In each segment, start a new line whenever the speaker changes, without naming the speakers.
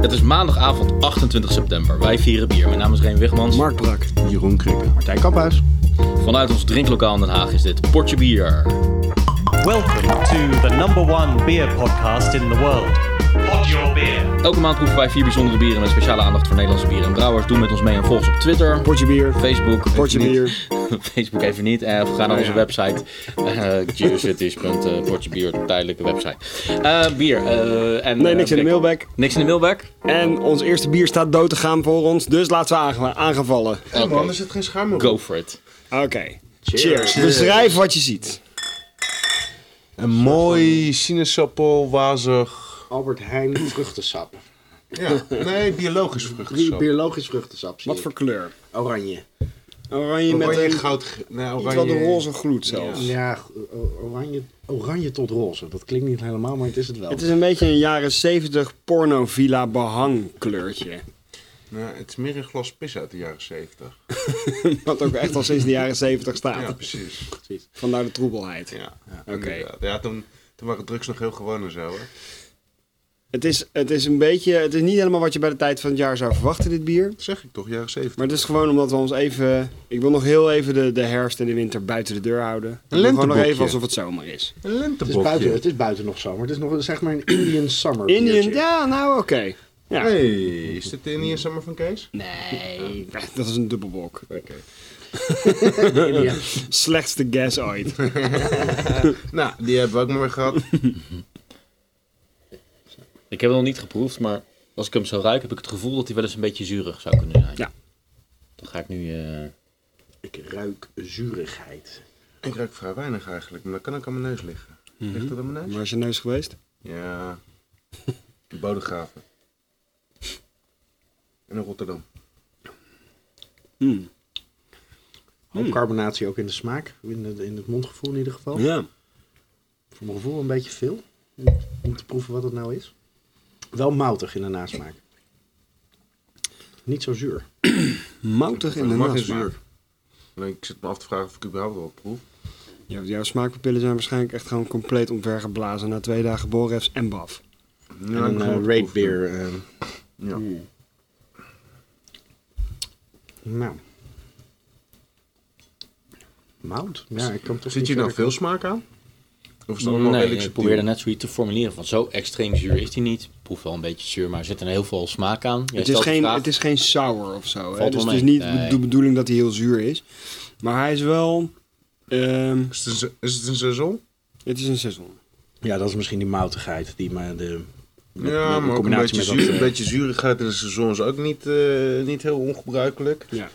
Het is maandagavond 28 september. Wij vieren bier. Mijn naam is Reen Wigmans.
Mark Brak.
Jeroen Krikken.
Martijn Kamphuis.
Vanuit ons drinklokaal in Den Haag is dit Portje Bier.
Welcome to the number one beer podcast in the world. Pod your beer.
Elke maand proeven wij vier bijzondere bieren met speciale aandacht voor Nederlandse bieren en brouwers. Doe met ons mee en volg ons op Twitter,
Portje bier.
Facebook.
Portje
Even niet.
bier. Nou
Facebook even niet. Eh, of ga naar onze
ja.
website. eh geocities.portjebier, de tijdelijke website. Eh, bier. eh, en,
Nee,
eh,
niks in de
blik.
mailbag.
Niks in de mailbag?
En ons eerste bier staat dood te gaan voor ons, dus laten we aange- aangevallen.
Oké.
Man, er zit geen schuim op.
Go for it.
Oké. Cheers. Beschrijf wat je ziet.
Een mooi sinaasappel, wazig.
Albert Heijn vruchtensap.
Ja, nee, biologisch
Bi-
vruchtensap.
Biologisch vruchtensap. Zie
Wat
ik.
voor kleur?
Oranje.
Oranje met
Oranje
een,
goud. Nee,
iets wat
oranje.
een roze gloed zelfs.
Ja, o- oranje, oranje tot roze. Dat klinkt niet helemaal, maar het is het wel.
Het is een beetje een jaren 70 pornovilla behangkleurtje.
Nee, het is meer een glas pis uit de jaren zeventig.
Wat ook echt al sinds de jaren 70
Ja,
staat.
precies.
Vandaar de troebelheid.
Ja, ja
Oké.
inderdaad. Ja, toen, toen waren drugs nog heel gewoon en zo. Hè.
Het, is, het is een beetje, het is niet helemaal wat je bij de tijd van het jaar zou verwachten, dit bier.
Dat zeg ik toch, jaren zeventig.
Maar het is gewoon omdat we ons even. Ik wil nog heel even de, de herfst en de winter buiten de deur houden. Ik wil Gewoon nog
lentebokje.
even alsof het zomer is.
Een
het, is buiten,
lentebokje.
het is buiten nog zomer. Het is nog zeg maar een Indian summer
Indian,
biertje.
ja, nou oké. Ja.
Hey, is dit de Indian Summer van Kees?
Nee, dat is een dubbelbok.
Oké.
Indian.
Slechtste guess ooit.
Nou, die hebben we ook maar weer gehad.
Ik heb hem nog niet geproefd, maar als ik hem zo ruik, heb ik het gevoel dat hij wel eens een beetje zuurig zou kunnen zijn.
Ja.
Dan ga ik nu. eh,
Ik ruik zurigheid.
Ik ruik vrij weinig eigenlijk, maar dat kan ook aan mijn neus liggen.
Mhm.
Ligt dat aan mijn neus?
Waar is je neus geweest?
Ja. De Bodegraven. En in Rotterdam. Hmm.
Ook carbonatie ook in de smaak. In, de- in het mondgevoel in ieder geval.
Ja.
Voor mijn gevoel een beetje veel. Om te proeven wat het nou is. Wel moutig in de nasmaak. Niet zo zuur.
Moutig in de
Het mag
nasmaak.
geen zuur. En ik zit me af te vragen of ik überhaupt wel proef.
Ja, want jouw smaakpapillen zijn waarschijnlijk echt gewoon compleet omvergeblazen na twee dagen bolrefs en baf.
Ja,
en een eh,
rape
rate beer. eh,
Ja.
Nou. Mout? Ja, ik kan toch
Zit
niet
je nou
verder
veel smaak aan? Of is het allemaal
Nee,
redelijk
ik
subtiel?
probeerde net zoiets te formuleren van zo extreem zuur is hij niet. Ik proef wel een beetje zuur, maar er zit een heel veel smaak aan. Jij
Het is,
stelt de
geen,
vraag.
het is geen sour of zo. Hè?
Valt
Dus
wel mee.
het is niet
Nee.
de bedoeling dat hij heel zuur is. Maar hij is wel... ehm,
Is het een, se- is het een seizoen?
het is een seizoen.
komen. Ja, dat is misschien die moutigheid die maar de... met- met-
Ja,
in
maar ook een beetje,
combinatie met dat,
zuur, een
eh,
beetje zuurigheid in een seizoen is ook niet, eh, niet heel ongebruikelijk.
Ja.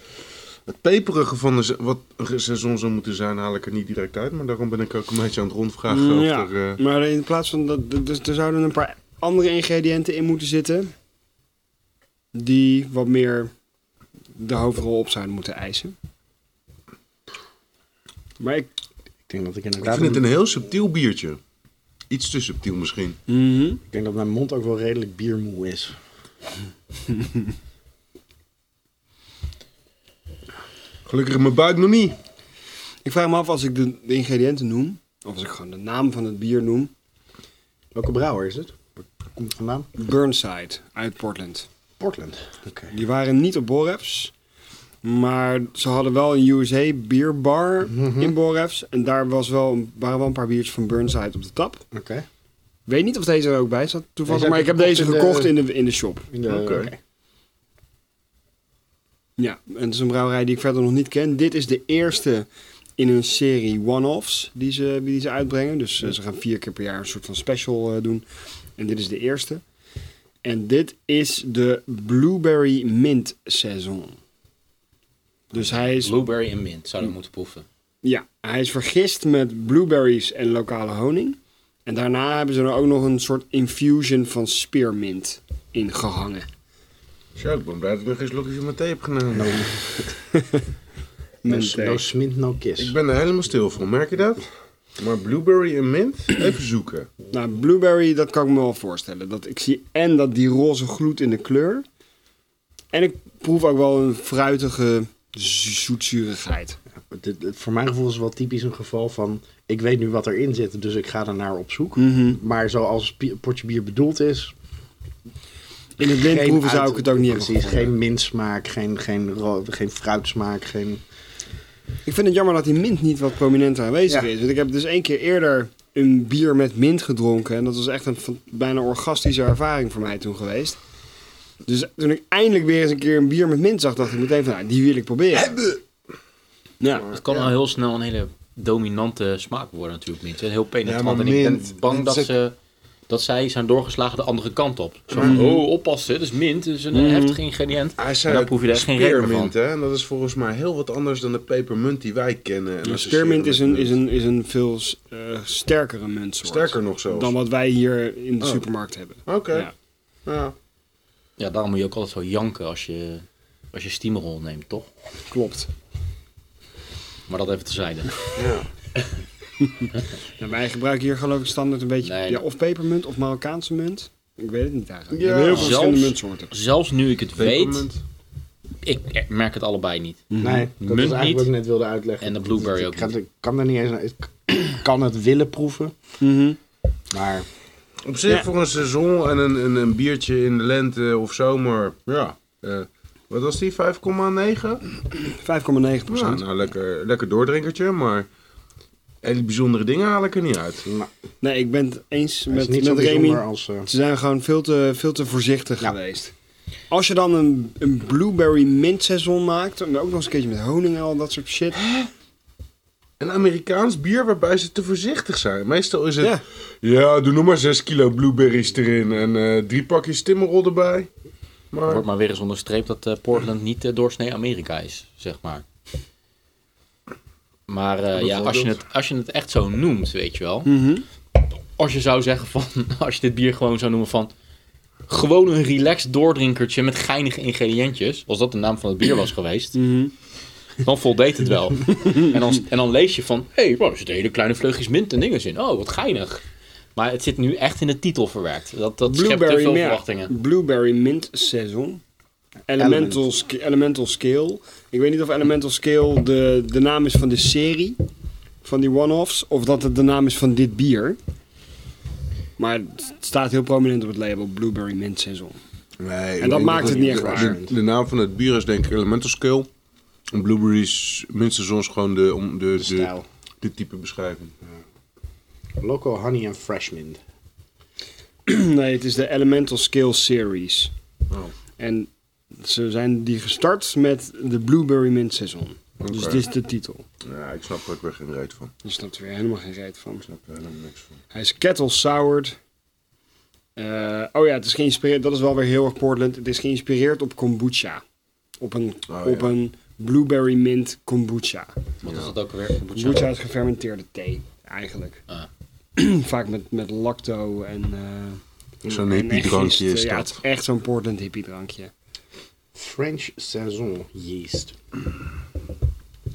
Het peperige van de, se- wat een seizoen zou moeten zijn, haal ik er niet direct uit. Maar daarom ben ik ook een beetje aan het rondvragen. of
Mm, ja,
er, eh,
maar in plaats van dat, d- dus er zouden een paar andere ingrediënten in moeten zitten die wat meer de hoofdrol op zouden moeten eisen. Maar ik,
Ik denk dat
ik
ik inderdaad...
vind het een heel subtiel biertje. Iets te subtiel misschien.
Mhm.
Ik denk dat mijn mond ook wel redelijk biermoe is.
Gelukkig mijn buik nog niet.
ik vraag me af als ik de, de ingrediënten noem, of als ik gewoon de naam van het bier noem,
Welke brouwer is het? Waar komt het vandaan?
Burnside uit Portland.
Portland. Oké.
Die waren niet op Borrefs, maar ze hadden wel een USA bierbar in Borrefs en daar was wel, waren wel een paar biertjes van Burnside op de tap.
Oké.
Ik weet niet of deze er ook bij zat toevallig,
Deze
maar ik
heb
heb
je
deze
gekocht in
gekocht
de-
in de, in de shop.
In de-
Oké.
oké.
Ja, en het is een brouwerij die ik verder nog niet ken. Dit is de eerste in hun serie one-offs die ze, die ze uitbrengen. Dus eh, ze gaan vier keer per jaar een soort van special eh, doen. En dit is de eerste. En dit is de Blueberry Mint Saison. Dus hij is,
Blueberry en mint zouden we moeten proeven.
ja, hij is vergist met blueberries en lokale honing. En daarna hebben ze er ook nog een soort infusion van spearmint in gehangen.
Zo, ik ben blij dat ik nog geen slokje van mijn thee heb genomen.
No,
Mint, eh.
no smint, no kiss.
Ik ben er helemaal stil van, merk je dat? Maar blueberry en mint, even zoeken.
Nou, blueberry, dat kan ik me wel voorstellen. Dat ik zie en dat die roze gloed in de kleur. En ik proef ook wel een fruitige zo- zoetzurigheid.
Dit- dit- voor mijn gevoel is het wel typisch een geval van... Ik weet nu wat erin zit,
Mhm.
dus ik ga er naar op zoek. Maar zoals pi- potje bier bedoeld is...
In het
Geen
wind proeven zou
uit-
ik het ook niet hebben.
Precies,
gevonden.
geen mintsmaak, geen, geen, ro- geen fruitsmaak, geen...
Ik vind het jammer dat die mint niet wat prominenter aanwezig
Ja.
is. Want ik heb dus één keer eerder een bier met mint gedronken. En dat was echt een fan- bijna orgastische ervaring voor mij toen geweest. Dus toen ik eindelijk weer eens een keer een bier met mint zag, dacht ik meteen van, nou, die wil ik proberen. Ja.
Het kan al heel snel een hele dominante smaak worden natuurlijk niet. Heel
Ja,
penetrant.
maar
en ik ben
mint,
bang dat,
dat is
ze, dat zij zijn doorgeslagen de andere kant op. Zo
Mm.
van, oh, oppassen, dat is mint. Dat is een heftig ingrediënt.
Hij eh,
En
zei
eh,
dan proef je daar geen reet meer van.
spearmint, hè? En dat is volgens mij heel wat anders dan de pepermunt die wij kennen. En
Een
associëren
spearmint is
met
een,
munt.
is een, is een veel s- eh, sterkere muntsoort.
Sterker nog zelfs.
Dan wat wij hier in de
Oh.
supermarkt hebben.
Oké.
Ja.
Ja.
Ja, daarom moet je ook altijd zo janken als je, als je steamroll neemt, toch?
Klopt.
Maar dat even terzijde.
Ja, wij gebruiken hier geloof ik standaard een beetje
Nee.
ja, of pepermunt of Marokkaanse munt. Ik weet het niet eigenlijk.
Ja.
We hebben heel veel
Zelfs-
verschillende muntsoorten.
Zelfs nu ik het weet,
Pepermunt.
ik merk het allebei niet.
Mhm.
Nee, dat
Munt
is eigenlijk
niet.
wat ik net wilde uitleggen.
En de blueberry ook
ik, ga-
niet.
ik kan er niet eens naar... Ik kan het willen proeven,
Mhm.
maar...
Op zich voor een seizoen en een, een, een biertje in de lente of zomer. Ja. eh, wat was die? 5,9?
5,9
Ja, nou, lekker, lekker doordrinkertje, maar... En die bijzondere dingen haal ik er niet uit.
Nou,
Nee, ik ben het eens
het is
met,
niet
met
zo
Remy.
bijzonder als... eh,
Ze zijn gewoon veel te, veel te voorzichtig
Ja.
geweest. Als je dan een, een blueberry mint seizoen maakt, en ook nog eens een keertje met honing en al dat soort shit.
Een Amerikaans bier waarbij ze te voorzichtig zijn. Meestal is het...
Ja.
Ja, doe nog maar 6 kilo blueberries erin en eh, drie pakjes timmerrol erbij.
Er
Maar
wordt maar weer eens onderstreept dat eh, Portland niet eh, doorsnee Amerika is, zeg maar. Maar eh, ja, als je, het, als je het echt zo noemt, weet je wel. Als je zou zeggen van, als je dit bier gewoon zou noemen van... Gewoon een relaxed doordrinkertje met geinige ingrediëntjes. Als dat de naam van het bier was geweest. Dan voldeed het wel. en, dan, en dan lees je van, hé, hey, wow, er zitten hele kleine vleugjes mint en dingen in. Oh, wat geinig. Maar het zit nu echt in de titel verwerkt. Dat, dat schept te
Blueberry,
veel
mint-
verwachtingen.
blueberry mint seizoen. Elemental, sc- elemental Scale. Ik weet niet of Elemental Scale de, de naam is van de serie, van die one-offs, of dat het de naam is van dit bier. Maar het staat heel prominent op het label Blueberry Mint Seizoen.
Nee,
En dat
ik-
maakt het niet echt
de-
waar.
De, de naam van het bier is denk ik Elemental Scale. En Blueberries, minstens ons gewoon de, om de, de,
stijl.
de type beschrijving.
Loco Honey and Fresh Mint.
Nee, het is de Elemental Scale Series.
Oh.
En ze zijn die gestart met de Blueberry Mint Seizoen. Dus
Oké.
dit is de titel.
Ja, ik snap er ook weer geen reet van.
Daar snapt er weer helemaal geen reet van.
Ik snap er helemaal niks van.
Hij is kettle soured. Eh, oh ja, het is geïnspireerd. Dat is wel weer heel erg Portland. Het is geïnspireerd op kombucha. Op een,
Oh,
op
ja.
een blueberry mint kombucha.
Wat is dat ook alweer?
Kombucha is gefermenteerde thee, eigenlijk.
Ah.
Vaak met, met lacto en. eh,
Zo'n
en
hippie drankje
gist.
is
Ja,
dat.
het is echt zo'n Portland hippie drankje.
French Saison Yeast.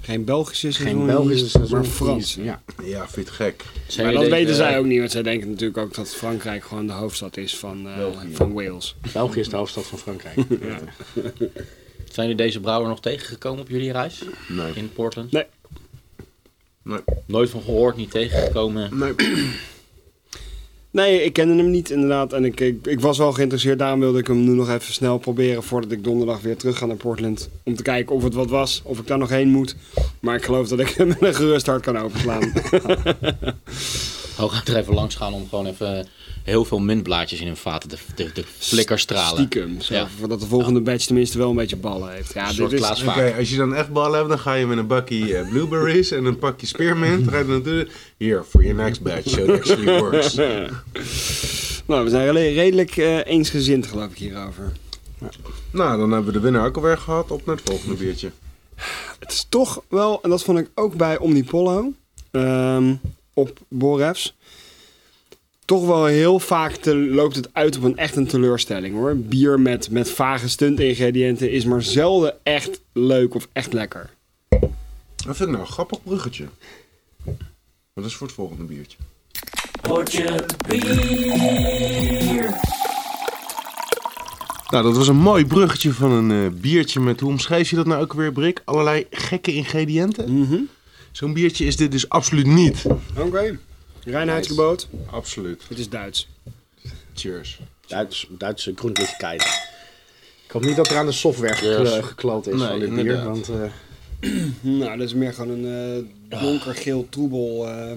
Geen Belgische seizoen,
Geen Belgische
yeast,
Saison
maar Frans.
yeast, Ja.
Ja, vind je het gek.
Zijn
Maar
jullie
dat
deze-
weten zij ook niet, want zij denken natuurlijk ook dat Frankrijk gewoon de hoofdstad is van, eh, van Wales.
België is de hoofdstad van Frankrijk. ja.
Zijn jullie deze brouwer nog tegengekomen op jullie reis?
Nee.
In Portland?
Nee.
Nee.
Nooit van gehoord, niet tegengekomen.
Nee.
Nee, ik kende hem niet inderdaad. En ik, ik, ik was wel geïnteresseerd. Daarom wilde ik hem nu nog even snel proberen. Voordat ik donderdag weer terug ga naar Portland. Om te kijken of het wat was. Of ik daar nog heen moet. Maar ik geloof dat ik hem met een gerust hart kan openslaan.
Hooguit er even langs gaan om gewoon even heel veel mintblaadjes in hun vaten te, te, te flikkerstralen.
Stiekem. Zo,
Ja.
Voordat de volgende badge tenminste wel een beetje ballen heeft. Ja,
Een
dit
soort
is,
Klaas
Oké,
Vaak.
als je dan echt ballen hebt, dan ga je met een bakje eh, blueberries en een pakje spearmint. Ga je dan doen. Hier, for your next batch. So it actually works.
nou, we zijn rela- redelijk eh, eensgezind geloof ik hierover.
nou, dan hebben we de winnaar ook alweer gehad. Op naar het volgende biertje.
Het is toch wel, en dat vond ik ook bij Omnipollo ehm, op Borefs. Toch wel heel vaak te- loopt het uit op een echt een teleurstelling hoor. Bier met, met vage stuntingrediënten is maar zelden echt leuk of echt lekker.
Dat vind ik nou een grappig bruggetje. Wat is voor het volgende biertje? Nou, dat was een mooi bruggetje van een eh, biertje met, hoe omschrijf je dat nou ook weer, Brik? Allerlei gekke ingrediënten. Zo'n biertje is dit dus absoluut niet.
Oké. Reinheidsgeboot.
Absoluut.
Het is Duits.
Cheers.
Duits, Duitse Gründlichkeit. Ik hoop niet dat er aan de software geklo-
Yes.
gekloot is
Nee,
van dit bier.
inderdaad.
Want eh,
Nou, dat is meer gewoon een eh, donkergeel troebel. eh,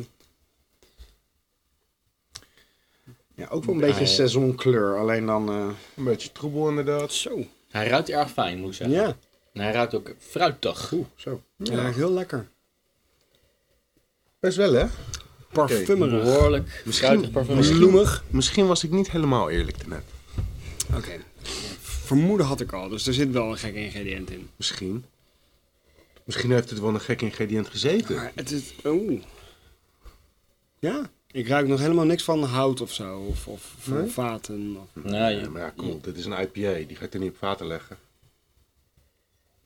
ja, ook wel een beetje seizoenkleur. Alleen dan... eh,
Een beetje troebel inderdaad.
zo.
Hij ruikt erg fijn, moet ik zeggen.
Ja,
En hij ruikt ook fruitig.
oeh, zo.
ja. heel lekker.
Best wel hè?
Parfumerig.
Behoorlijk fruitig parfum.
Bloemig.
Misschien was ik niet helemaal eerlijk daarnet.
Oké. Vermoeden had ik al, dus er zit wel een gek ingrediënt in.
Misschien. Misschien heeft het wel een gek ingrediënt gezeten.
Maar het is... Oeh. Ja. Ik ruik nog helemaal niks van hout of zo. Of, of van vaten. Of,
Nou,
Ja,
je-
maar ja, kom op, dit is een IPA. Die ga ik er niet op water leggen.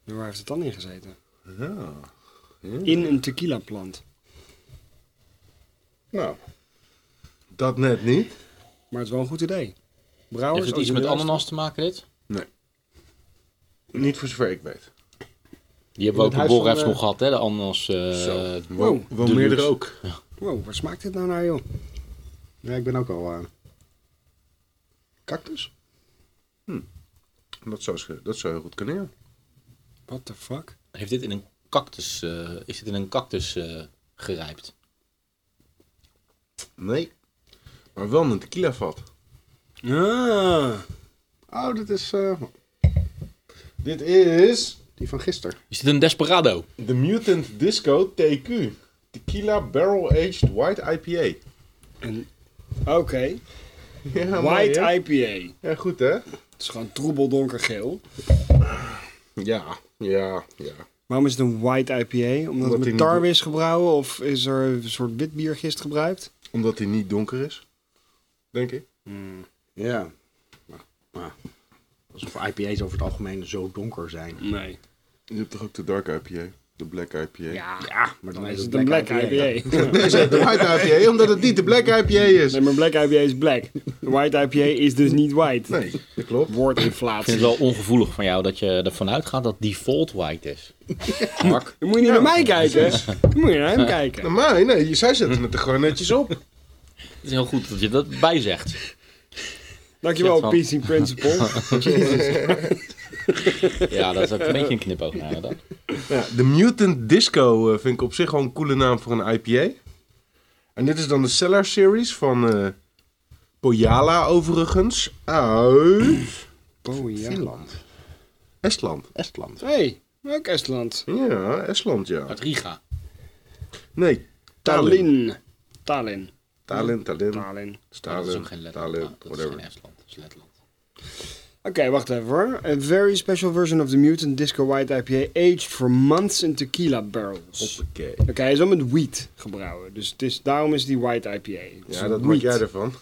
waar heeft het dan in gezeten?
Ja.
In een tequila plant.
Nou, dat net niet.
Maar het is wel een goed idee.
heeft
Brouwers,
het
als
iets
je
met
luistert-
ananas te maken, dit?
Niet voor zover ik weet.
Die hebben we
het
ook in
huis van,
Borrefs
eh,
nog gehad, hè? De ananas. eh,
Zo.
wow.
Wel, wel
de
meerdere
luxe.
ook.
Wow, waar smaakt dit nou naar, joh?
Ja, ik ben ook al eh, aan. Cactus?
Dat zou, sche- dat zou heel goed kunnen, ja.
What the fuck?
Heeft dit in een cactus... eh, is dit in een cactus eh, gerijpt?
Nee. Maar wel een tequila vat.
Ah.
Oh, dit is eh,
Dit is
die van gisteren.
Is dit een desperado?
de Mutant Disco TQ. Tequila Barrel Aged White IPA.
En- Oké.
Ja, mooi,
White
hè?
IPA.
Ja, goed hè?
Het is gewoon troebel donkergeel.
Ja, ja, ja.
Waarom is het een white IPA? Omdat het
Omdat die
met
niet-
tarwe is gebrouwen of is er een soort witbiergist gebruikt?
Omdat hij niet donker is. Denk ik.
Ja. Maar, maar alsof IPA's over het algemeen zo donker zijn.
Nee.
Je hebt toch ook de Dark IPA? De Black IPA?
Ja,
Maar
dan is het een black IPA.
Nee, ze heet de White IPA, omdat het niet de Black IPA is.
Nee, maar black IPA is black. White IPA is dus niet white.
Nee, dat klopt.
Ik vind
Woordinflatie.
het wel ongevoelig van jou dat je ervan uitgaat dat default white is.
Dan moet je niet naar mij kijken. Dan moet je naar hem kijken.
Nou, maar nee, zij zetten het er gewoon netjes op.
Het is heel goed dat je dat bijzegt.
Dankjewel,
Zegt
PC Principle.
Ja, dat is ook een beetje een knipoog naar hè, dan.
Ja, de Mutant Disco eh, vind ik op zich wel een coole naam voor een IPA. En dit is dan de Cellar Series van eh Pojala overigens. Uit
Oh ja.
Finland.
Estland.
Estland.
Hey, ook Estland.
Ja, Estland ja.
Uit Riga.
Nee, Tallinn.
Tallinn. Tallinn.
Tallinn, Tallinn,
Tallinn.
Dat is ook geen
Tallinn,
Letland.
Tallinn,
Ah, Dat is geen
whatever.
Estland, dat is Letland.
Oké, wacht even hoor. A very special version of the Mutant Disco White IPA aged for months in tequila barrels.
Hoppakee.
Oké, hij is wel met wheat gebrouwen. Dus het is, daarom is die white IPA.
Ja, dat maak jij
er.
ervan.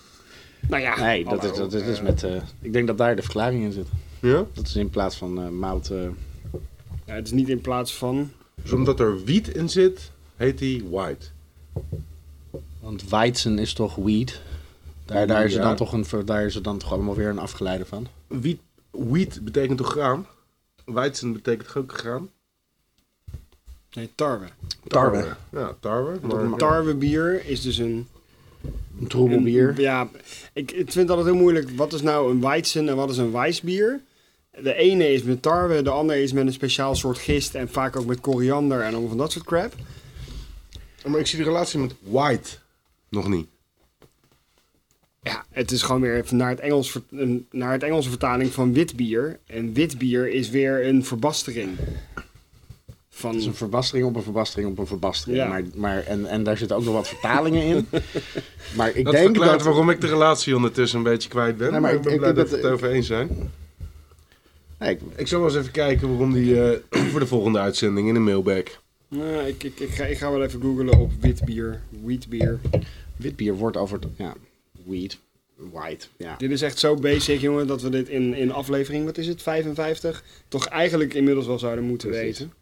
Nou ja,
Nee, dat
hallo.
is, dat is, dat is met... Oh, eh, ik denk dat daar de verklaring in zit.
Ja?
Dat is in plaats van eh, mout... eh,
Ja, het is niet in plaats van...
Dus omdat er wiet in zit, heet die white.
want weizen is toch weed? Daar, daar, is er
Ja.
dan toch een, ver- daar is er dan toch allemaal weer een afgeleide van.
Wiet, wiet betekent toch graan? Weizen betekent toch ook graan?
Nee, tarwe.
Tarwe.
Ja, tarwe.
Een
Maar,
tarwebier is dus een...
Een troebelbier.
een- ja, ik, ik vind altijd heel moeilijk. Wat is nou een weizen en wat is een wijsbier? De ene is met tarwe, de andere is met een speciaal soort gist... en vaak ook met koriander en allemaal van dat soort crap.
maar ik zie de relatie met white nog niet.
Ja, het is gewoon weer even naar het, Engels, ver- een- naar het Engelse vertaling van wit bier. En wit bier is weer een verbastering.
Het is
Van,
een verbastering op een verbastering op een verbastering.
Ja.
Maar, maar, en, en daar zitten ook nog wat vertalingen in. Maar ik
Dat
denk
verklaart
dat...
waarom ik de relatie ondertussen een beetje kwijt ben.
Nee, maar
maar ik
ik-
ben
ik
blij
denk
dat we
dat-
het over eens zijn.
Nee, ik-
Ik zal wel eens even kijken waarom die eh, voor de volgende uitzending in de mailbag.
nou, ik, ik, ik, ga, ik ga wel even googlen op wit bier, wheat bier.
Wit bier wordt over... het- Ja, weed. White. Ja.
Dit is echt zo basic, jongen, dat we dit in, in aflevering, wat is het, 55? Toch eigenlijk inmiddels wel zouden moeten
Precies.
weten.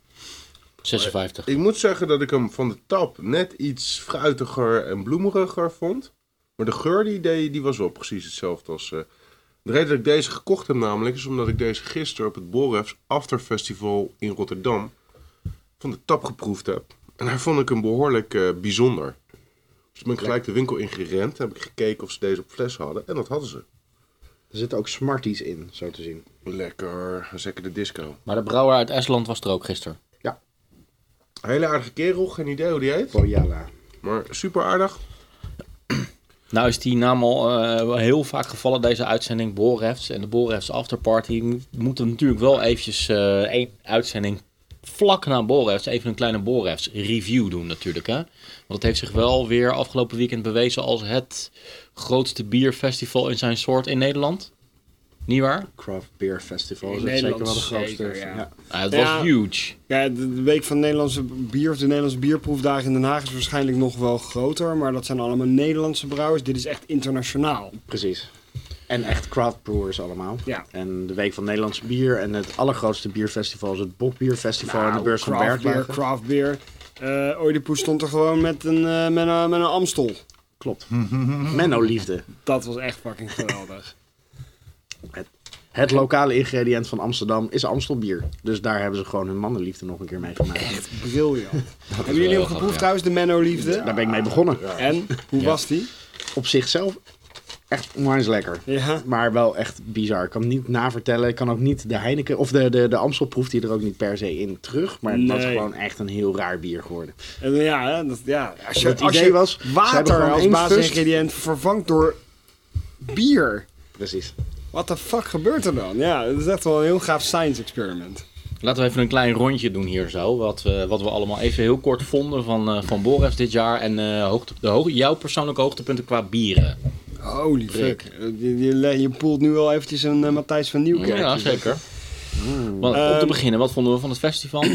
56.
Ik moet zeggen dat ik hem van de tap net iets fruitiger en bloemeriger vond. Maar de geur die deed, die was wel precies hetzelfde als... eh, de reden dat ik deze gekocht heb namelijk, is omdat ik deze gisteren op het Borrefs After Festival in Rotterdam van de tap geproefd heb. En daar vond ik hem behoorlijk eh, bijzonder. Dus toen ben ik gelijk de winkel ingerend, heb ik gekeken of ze deze op fles hadden. En dat hadden ze.
Er zitten ook smarties in, zo te zien.
Lekker, zeker de disco.
Maar de brouwer uit Estland was er ook gisteren.
Hele aardige kerel, geen idee hoe die heet.
Boyala.
Maar super aardig.
Nou is die naam al eh, heel vaak gevallen, deze uitzending, Borefts. En de Borefts Afterparty Mo- moeten we natuurlijk wel eventjes eh, één uitzending vlak na Borefts, even een kleine Borefts review doen natuurlijk. Hè? Want het heeft zich wel weer afgelopen weekend bewezen als het grootste bierfestival in zijn soort in Nederland. Niet waar?
Craft Beer Festival
In
is het zeker wel de
Nederland
grootste.
zeker, ja.
ja.
Nou, het
Ja.
was huge.
Ja, de de week van Nederlandse bier of de Nederlandse bierproefdagen in Den Haag is waarschijnlijk nog wel groter. Maar dat zijn allemaal Nederlandse brouwers. Dit is echt internationaal.
Precies. En echt craft brewers allemaal.
Ja.
En de Week van Nederlands Bier en het allergrootste bierfestival is het Bokbierfestival en eh, de Beurs van
Nou, craft beer,
Bergbergen.
craft beer. Eh Oedipus stond er gewoon met een, eh, met een, met een Amstel.
Klopt. Menno Liefde.
Dat was echt fucking geweldig.
Het lokale ingrediënt van Amsterdam is Amstelbier. Dus daar hebben ze gewoon hun mannenliefde nog een keer mee gemaakt.
Briljant. Hebben jullie hem
wel
geproefd
grappig, ja.
trouwens, de Menno Liefde?
Daar ben ik mee begonnen.
En, hoe
Ja.
was die?
Op zichzelf echt onwijs lekker.
Ja.
Maar wel echt bizar. Ik kan het niet navertellen. Ik kan ook niet de Heineken of de, de, de Amstel proeft die er ook niet per se in terug. Maar het was
Nee.
gewoon echt een heel raar bier geworden.
En, eh, ja, hè, dat, ja. Als je,
Het
als
idee
je
was, ze hebben
water
gewoon
als
één
basisingrediënt vervangt door bier.
Precies.
Wat de fuck gebeurt er dan? Ja, dat is echt wel een heel gaaf science experiment.
Laten we even een klein rondje doen hier zo. Wat, we- wat we allemaal even heel kort vonden van, eh van Borefs dit jaar. En eh, hoogte, de hoog, jouw persoonlijke hoogtepunten qua bieren.
Holy fuck. Je, je, le- je poelt nu al eventjes een eh, Matthijs van Nieuwkerk.
Ja, zeker. Want, om te
Ehm,
beginnen, wat vonden we van het festival?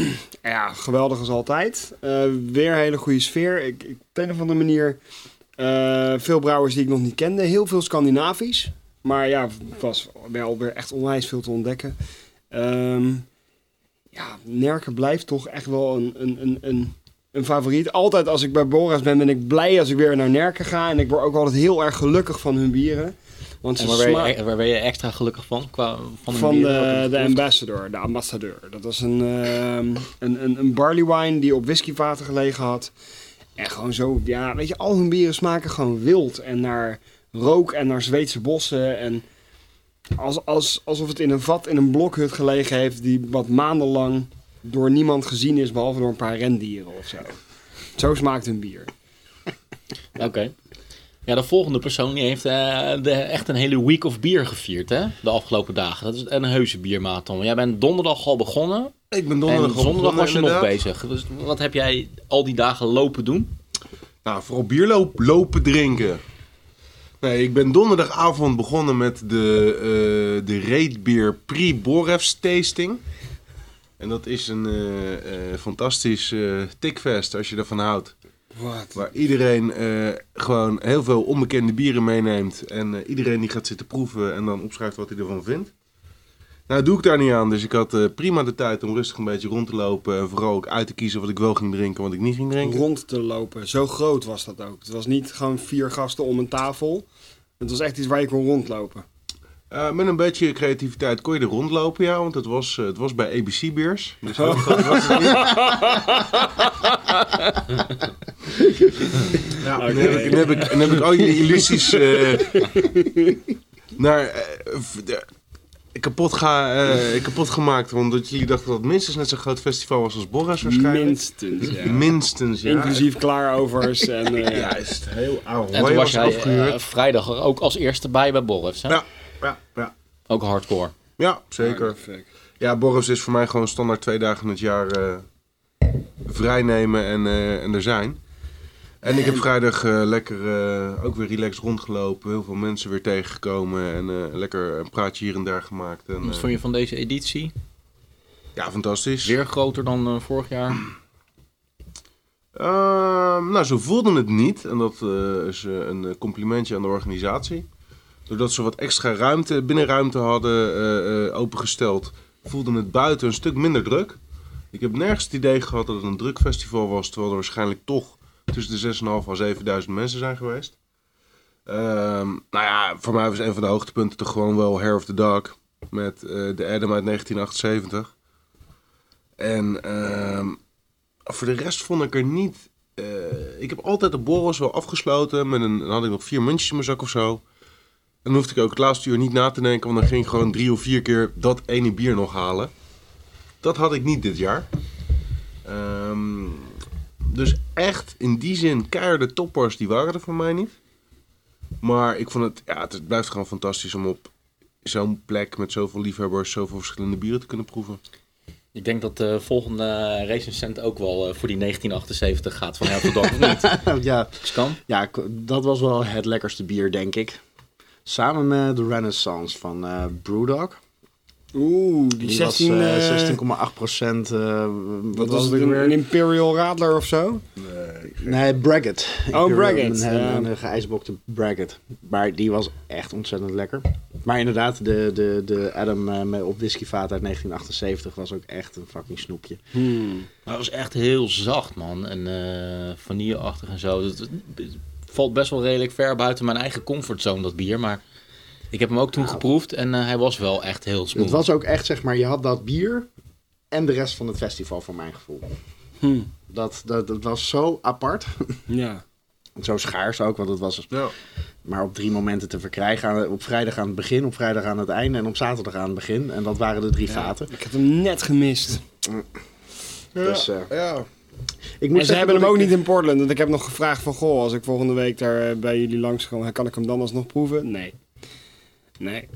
Ja, geweldig als altijd. Eh, weer een hele goede sfeer. Ik, ik, op een of andere manier eh, veel brouwers die ik nog niet kende. Heel veel Scandinavisch. Maar ja, was wel weer echt onwijs veel te ontdekken. Ehm, ja, Nerken blijft toch echt wel een, een, een, een, een favoriet. Altijd als ik bij Boras ben, ben ik blij als ik weer naar Nerken ga. En ik word ook altijd heel erg gelukkig van hun bieren. Want ze
en waar ben,
smaken
je, e- waar ben je extra gelukkig van? Qua, van hun
van
bieren?
de, de
Welke
ambassador, de ambassadeur. Dat was een, ehm, een, een, een barley wine die op whiskyvaten gelegen had. En gewoon zo, ja, weet je, al hun bieren smaken gewoon wild. En naar rook en naar Zweedse bossen. En als, als, alsof het in een vat in een blokhut gelegen heeft die wat maandenlang door niemand gezien is, behalve door een paar rendieren of zo. Zo smaakt hun bier.
Oké. Ja, de volgende persoon die heeft eh, de, echt een hele week of bier gevierd hè? de afgelopen dagen. Dat is een heuse biermarathon. Jij bent donderdag al begonnen
Ik ben donderdag
en zondag was je nog
inderdaad.
bezig. Dus wat heb jij al die dagen lopen doen?
Nou, vooral bierloop lopen drinken. Nee, ik ben donderdagavond begonnen met de, eh de Reetbeer Pre-Borefs tasting. En dat is een eh, eh, fantastisch eh tikfest als je ervan houdt.
Wat?
Waar iedereen eh, gewoon heel veel onbekende bieren meeneemt. En eh, iedereen die gaat zitten proeven en dan opschrijft wat hij ervan vindt. Nou, doe ik daar niet aan. Dus ik had eh, prima de tijd om rustig een beetje rond te lopen. En vooral ook uit te kiezen wat ik wel ging drinken en wat ik niet ging drinken.
rond te lopen. Zo groot was dat ook. Het was niet gewoon vier gasten om een tafel. Het was echt iets waar je kon rondlopen.
Eh, met een beetje creativiteit kon je er rondlopen, ja, want het was, eh, het was bij ABC Beers. Dus
Oh.
heel groot was het niet. ja, dan, heb ik, dan, heb ik, dan heb ik al je illusies eh, naar, eh, v- de- kapot, ga, eh, kapot gemaakt. Omdat jullie dachten dat het minstens net zo'n groot festival was als Borras waarschijnlijk.
Minstens, ja.
Minstens, ja.
Inclusief klaarovers en... eh,
Ja, is het heel oude.
En toen was jij
afgehuurd.
eh, vrijdag er ook als eerste bij bij Borrefs, hè?
ja, ja, ja.
Ook hardcore.
ja, zeker.
perfect.
Ja, Boris is voor mij gewoon standaard twee dagen in het jaar eh, vrijnemen en, eh, en er zijn. En ik heb vrijdag eh, lekker eh, ook weer relaxed rondgelopen. Heel veel mensen weer tegengekomen. En eh, lekker een praatje hier en daar gemaakt. En,
Wat
eh,
vond je van deze editie?
ja, fantastisch.
Weer groter dan eh, vorig jaar.
Ehm, nou, ze voelden het niet. En dat eh, is eh, een eh, complimentje aan de organisatie. Doordat ze wat extra ruimte, binnenruimte hadden eh, eh, opengesteld, voelden het buiten een stuk minder druk. Ik heb nergens het idee gehad dat het een druk festival was, terwijl er waarschijnlijk toch tussen de 6.500 en 7000 mensen zijn geweest. Ehm, nou ja, voor mij was een van de hoogtepunten toch gewoon wel Hair of the Dog met eh, de Adam uit 1978. En ehm, voor de rest vond ik er niet. eh, ik heb altijd de borrels wel afgesloten. Met een, dan had ik nog vier muntjes in mijn zak of zo. En dan hoefde ik ook het laatste uur niet na te denken, want dan ging ik gewoon drie of vier keer dat ene bier nog halen. Dat had ik niet dit jaar. Ehm, dus echt, in die zin, keiharde toppers, die waren er voor mij niet. Maar ik vond het, ja, het het blijft gewoon fantastisch om op zo'n plek met zoveel liefhebbers, zoveel verschillende bieren te kunnen proeven.
Ik denk dat de volgende recensent ook wel eh, voor die 1978 gaat van Herteldorp of niet.
Nou, ja,
Dus kan.
ja, k- dat was wel het lekkerste bier, denk ik. Samen met de Renaissance van eh Brewdog.
Oeh, die,
Die
16...
was
eh,
eh, 16,8 procent. eh,
wat was het ook weer? Een Imperial Radler of zo?
Nee, Braggot.
Oh,
Ik, eh,
Braggot,
Een,
ja.
een, een geijsbokte Braggot. Maar die was echt ontzettend lekker. Maar inderdaad, de, de, de Adam eh, met- op whiskyvaat uit 1978 was ook echt een fucking snoepje.
Maar het was echt heel zacht, man. En eh vanilleachtig en zo. Het, het- het valt best wel redelijk ver buiten mijn eigen comfortzone, dat bier. Maar ik heb hem ook toen geproefd en eh, hij was wel echt heel smooth.
Nou. Het was ook echt, zeg maar, je had dat bier en de rest van het festival, voor mijn gevoel. Dat, dat, dat was zo apart.
Hmm. Ja.
Zo schaars ook, want het was
Ja.
maar op drie momenten te verkrijgen. Aan- Op vrijdag aan het begin, op vrijdag aan het einde en op zaterdag aan het begin. En dat waren de drie vaten.
Ik had hem net gemist.
Dus, eh,
ja.
Ik
En ze hebben hem
dat
ook
ik-
niet in Portland. Want ik heb nog gevraagd van... Goh, als ik volgende week daar eh, bij jullie langs kom... Kan ik hem dan alsnog proeven? Nee. Nee.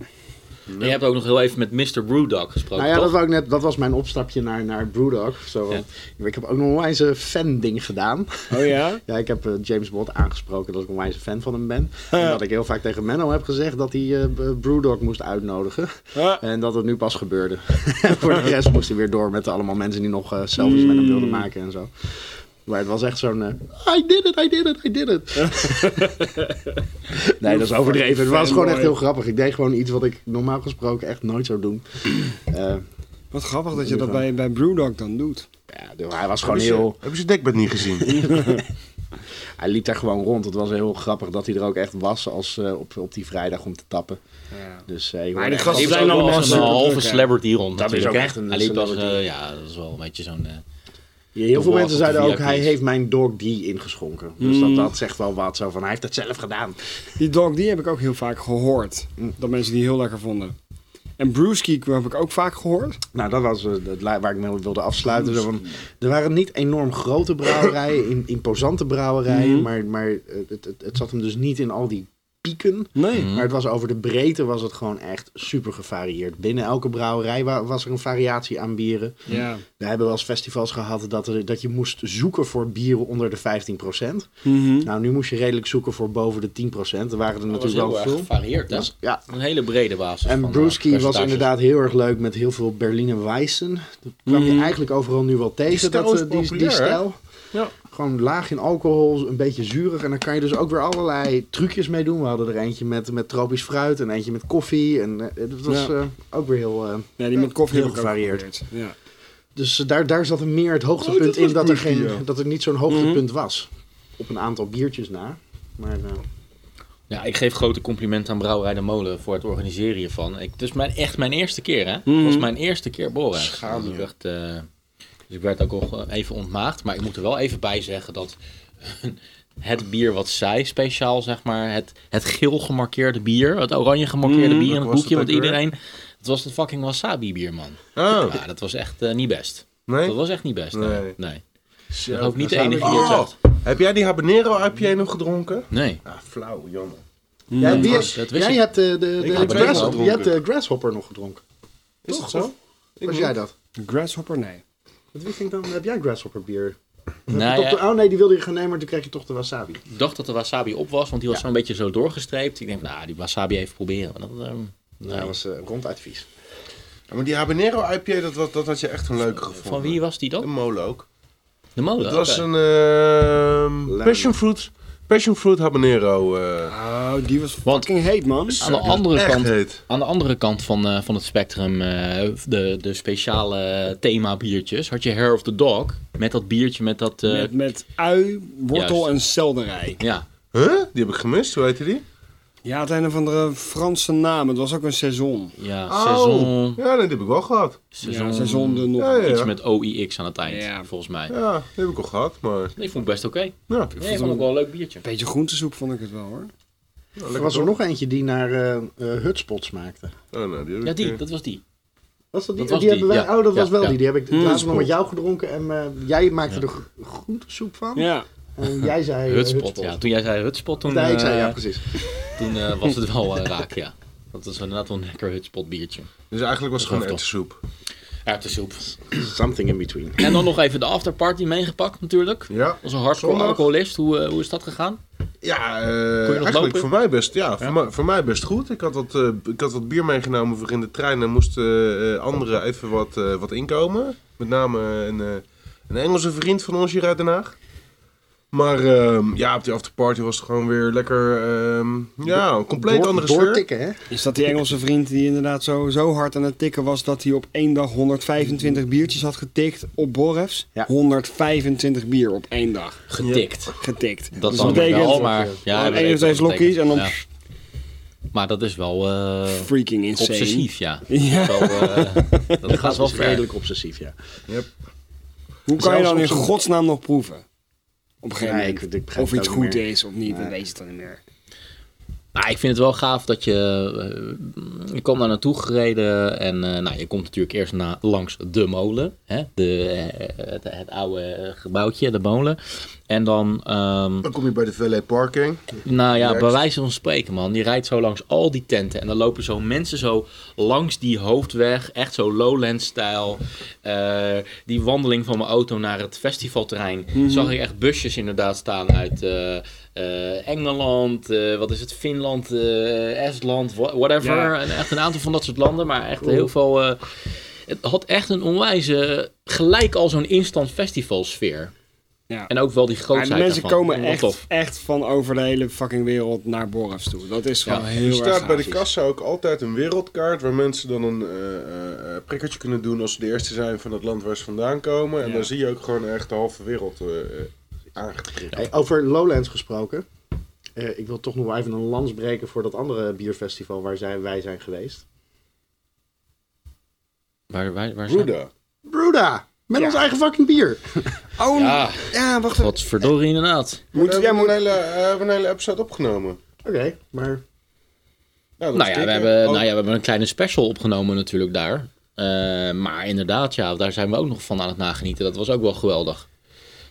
En je hebt ook nog heel even met Mr. Brewdog gesproken,
Nou ja,
toch?
dat, wou ik net, dat was mijn opstapje naar, naar Brewdog. Zo, want Ik heb ook nog een wijze fan-ding gedaan.
Oh ja?
Ja, ik heb eh, James Bond aangesproken dat ik een wijze fan van hem ben. En dat ik heel vaak tegen Menno heb gezegd dat hij eh, B- Brewdog moest uitnodigen.
Ja.
En dat het nu pas gebeurde. Voor de rest moest hij weer door met allemaal mensen die nog eh, selfies met hem wilden maken en zo. Maar het was echt zo'n... eh, I did it, I did it, I did it. nee, dat is overdreven. Het was gewoon echt heel grappig. Ik deed gewoon iets wat ik normaal gesproken echt nooit zou doen. Eh,
Wat grappig dat je dat bij, bij Brewdog dan doet.
ja, de- hij was gewoon
Hebben ze,
heel...
hebben ze dekbed niet gezien?
Hij liep daar gewoon rond. Het was heel grappig dat hij er ook echt was als, eh, op, op die vrijdag om te tappen. Dus, eh,
Maar
ik hoorde
die
echt
gasten
Hij
wel-
liep ook
zijn
wel
allemaal
als een
super
halve
druk, hè?
celebrity rond
Dat is
natuurlijk,
ook
hè?
echt een
eh, Hij liep als,
celebrity.
eh, ja, dat is wel een beetje zo'n... eh,
Heel veel
Toch wel
mensen zeiden
op de
ook, hij
VIP's.
heeft mijn dog die ingeschonken. Dus
Hmm.
dat, dat zegt wel wat. Zo van, hij heeft het zelf gedaan.
Die dog die heb ik ook heel vaak gehoord. Dat mensen die heel lekker vonden. En Brewski heb ik ook vaak gehoord.
Nou, dat was eh, het li- waar ik mee wilde afsluiten. Zo van, er waren niet enorm grote brouwerijen, in- imposante brouwerijen.
Hmm.
Maar, maar eh, het, het, het zat hem dus niet in al die pieken.
Nee.
Maar het was over de breedte was het gewoon echt super gevarieerd. Binnen elke brouwerij wa- was er een variatie aan bieren.
Ja.
We hebben wel eens festivals gehad dat, er, dat je moest zoeken voor bieren onder de 15%.
Mhm. Hm?
Nou, nu moest je redelijk zoeken voor boven de 10%. Er waren er
dat was
natuurlijk
heel
wel
erg
veel.
gevarieerd, hè?
Ja.
Een hele brede basis van,
En
eh,
Brewski was
percentages.
inderdaad heel erg leuk met heel veel Berliner Weissen. Dat kwam je eigenlijk overal nu wel tegen,
stijl
dat,
is
eh, die, die
populair, hè?
stijl.
Ja.
Gewoon laag in alcohol, een beetje zuurig. En dan kan je dus ook weer allerlei trucjes mee doen. We hadden er eentje met, met tropisch fruit en eentje met koffie. En eh, dat was
Ja.
eh, ook weer heel... eh,
Ja, die met koffie
Heel
heb ik ook
gevarieerd.
geprobeerd. Ja.
Dus eh, daar, daar zat er meer het
Oh,
hoogtepunt in dat er, geen, dat er niet
Mhm.
zo'n hoogtepunt was. Op een aantal biertjes na. Maar eh,
Ja, ik geef grote complimenten aan Brouwerij de Molen voor het organiseren hiervan. Ik, het is mijn, echt mijn eerste keer, hè? Het
Mhm.
was mijn eerste keer Boren. Dus, echt, eh, dus ik werd ook al even ontmaagd. Maar ik moet er wel even bij zeggen dat het bier wat zij speciaal, zeg maar, het, het geel gemarkeerde bier, het oranje gemarkeerde bier in het
Wat was
boekje,
Mhm, dat
want
ook weer?
iedereen... Het was een fucking wasabi bier, man.
Oh,
Ja, dat was echt eh, niet best.
nee?
Dat was echt niet best, nee.
Nee.
Nee.
Zo,
Ik hoop niet de
daar
enige
zijn
die
we-
het
Oh,
zegt.
Heb jij die habanero IPA
Mm.
nog gedronken?
Nee.
Ah, flauw, jammer.
jij,
Mm, dat
wist,
wist- dat wist
jij
ik.
hebt eh, de, de, de,
heb het
grass-
wel
jij
gedronken.
hebt de Grasshopper nog gedronken.
Is
Toch,
dat zo?
of- Was jij dat?
Grasshopper, nee.
Met wie ging dan? Heb jij Grasshopper bier?
Nou,
Toch
ja,
de- oh nee, die wilde je gaan nemen, maar toen kreeg je toch de wasabi.
Ik dacht dat de wasabi op was, want die was zo'n beetje zo doorgestreept. Ik denk, nou, die wasabi even proberen. Maar dat, ehm, nee.
Dat was eh ronduit vies.
Oh, Ja, maar die habanero IPA, dat, was- dat had je echt een leuke gevonden.
Van
eh,
wie was die
Een
dan?
molen ook.
De molen.
Het was
oké.
een ehm passionfruit, passionfruit habanero. eh
Oh, die was
Want-
fucking heet, man.
aan de andere
echt
kant,
heet.
aan de andere kant van, eh, van het spectrum, eh, de, de speciale thema biertjes, had je Hair of the Dog met dat biertje met dat. eh,
Met, met ui, wortel
Juist.
en selderij.
ja.
Huh? Die heb ik gemist, hoe heette die?
Ja, het een of andere Franse naam. Het was ook een seizoen.
Ja, seizoen.
Oh. Ja, dat heb ik wel gehad.
Ja,
seizoen,
een seizoen er nog.
Ja, ja.
Iets met OIX aan het eind,
Ja.
volgens mij.
Ja, die heb ik al gehad, maar...
Ik vond het best oké.
Ja.
Nee, ik vond het ook wel een leuk biertje.
Beetje groentesoep vond ik het wel, hoor.
Er was er nog eentje die naar eh, eh, Hutspots maakte.
Oh, nou, die heb
Ja,
ik,
die,
eh,
dat was die.
Was dat die?
Dat was
die
die,
hebben wij,
ja.
Oh, dat
Ja,
was wel
ja.
die. Die heb ik laatst nog
Hutspot.
met jou gedronken. En eh, jij maakte er gro- groentesoep van.
Ja.
En jij zei eh,
Hutspot,
Hutspot.
ja. Toen jij zei Hutspot, toen,
Nee, ik zei
eh,
ja, precies.
toen eh, was het wel eh, raak, ja. Dat was inderdaad wel een lekker Hutspot biertje.
Dus eigenlijk was het
Dat
gewoon
was
erwtensoep.
Erwtensoep.
Something in between.
En dan nog even de afterparty meegepakt natuurlijk.
Ja.
Als een hardcore
Zondag.
alcoholist, hoe, eh, hoe is dat gegaan?
Ja, eh,
nog
eigenlijk
lopen?
voor mij best, ja, Voor, mij, voor mij best goed. Ik had, wat, eh, ik had wat bier meegenomen voor in de trein en moesten eh, anderen even wat, eh, wat inkomen. Met name een, eh, een Engelse vriend van ons hier uit Den Haag. Maar ehm, ja, op die afterparty was het gewoon weer lekker, ehm, ja, een compleet
Door-
andere sfeer.
Doortikken, hè?
Is dat die Engelse vriend die inderdaad zo, zo hard aan het tikken was dat hij op één dag 125 biertjes had getikt op Borrefs?
Ja.
125 bier op één dag
Getikt.
getikt.
Dat dan weer wel, maar... Ja, dat
Ja, één of
weet ik
twee
wel, dat
slokjes en dan
betekent- ja. Maar dat is wel eh,
freaking insane.
obsessief, ja.
Ja.
Wel, eh, dat gaat
Dat
wel
was
ver.
redelijk obsessief, ja.
Hoe kan je
Zelfs
dan
op
in
zo'n-
godsnaam nog proeven? Op een gegeven
Nee,
moment.
ik- ik begrijp
of
het
iets
ook
goed
niet meer.
is of niet, dat
Nee.
weet je dan niet meer.
Nou, ik vind het wel gaaf dat je... eh, je kwam daar naartoe gereden en eh, nou, je komt natuurlijk eerst na, langs de molen. Hè? De, eh, het, het oude eh, gebouwtje, de molen. En dan... ehm,
Dan kom je bij de Valet Parking.
Nou ja,
Next.
bij wijze van spreken, man. Die rijdt zo langs al die tenten. En dan lopen zo mensen zo langs die hoofdweg. Echt zo Lowland-stijl. Eh, die wandeling van mijn auto naar het festivalterrein.
Mhm.
Zag ik echt busjes inderdaad staan uit eh, eh, Engeland. eh, wat is het? Finland, eh, Estland, wha- whatever.
Ja.
En echt een aantal van dat soort landen. Maar echt heel veel... eh, het had echt een onwijze... Gelijk al zo'n instant festivalsfeer.
Ja.
En ook wel die
Maar
grootheid
de mensen
ervan.
komen
Vond ik wel tof.
echt, echt van over de hele fucking wereld naar Borrefs toe. Dat is gewoon
Ja.
heel
Er
erg
staat bij de
gaaf.
kassa ook altijd een wereldkaart waar mensen dan een eh, eh, prikkertje kunnen doen als ze de eerste zijn van het land waar ze vandaan komen. En
Ja.
dan zie je ook gewoon echt de halve wereld eh eh, aangeprikt.
Hey, over Lowlands gesproken. Eh, ik wil toch nog wel even een lans breken voor dat andere bierfestival waar zij, wij zijn geweest.
Waar, waar, waar zijn-
Roeda.
Bruda! Met ons eigen fucking bier.
Oh,
Ja,
ja, wacht even.
wat verdorie inderdaad.
Moet-
we
ja,
hebben
moet-
een hele, eh, we hebben een hele episode opgenomen.
Oké, maar
dat
Nou
is
ja,
dik,
we
hè?
hebben,
Oh,
nou ja, we hebben een kleine special opgenomen natuurlijk daar. Eh, maar inderdaad, ja, daar zijn we ook nog van aan het nagenieten. Dat was ook wel geweldig.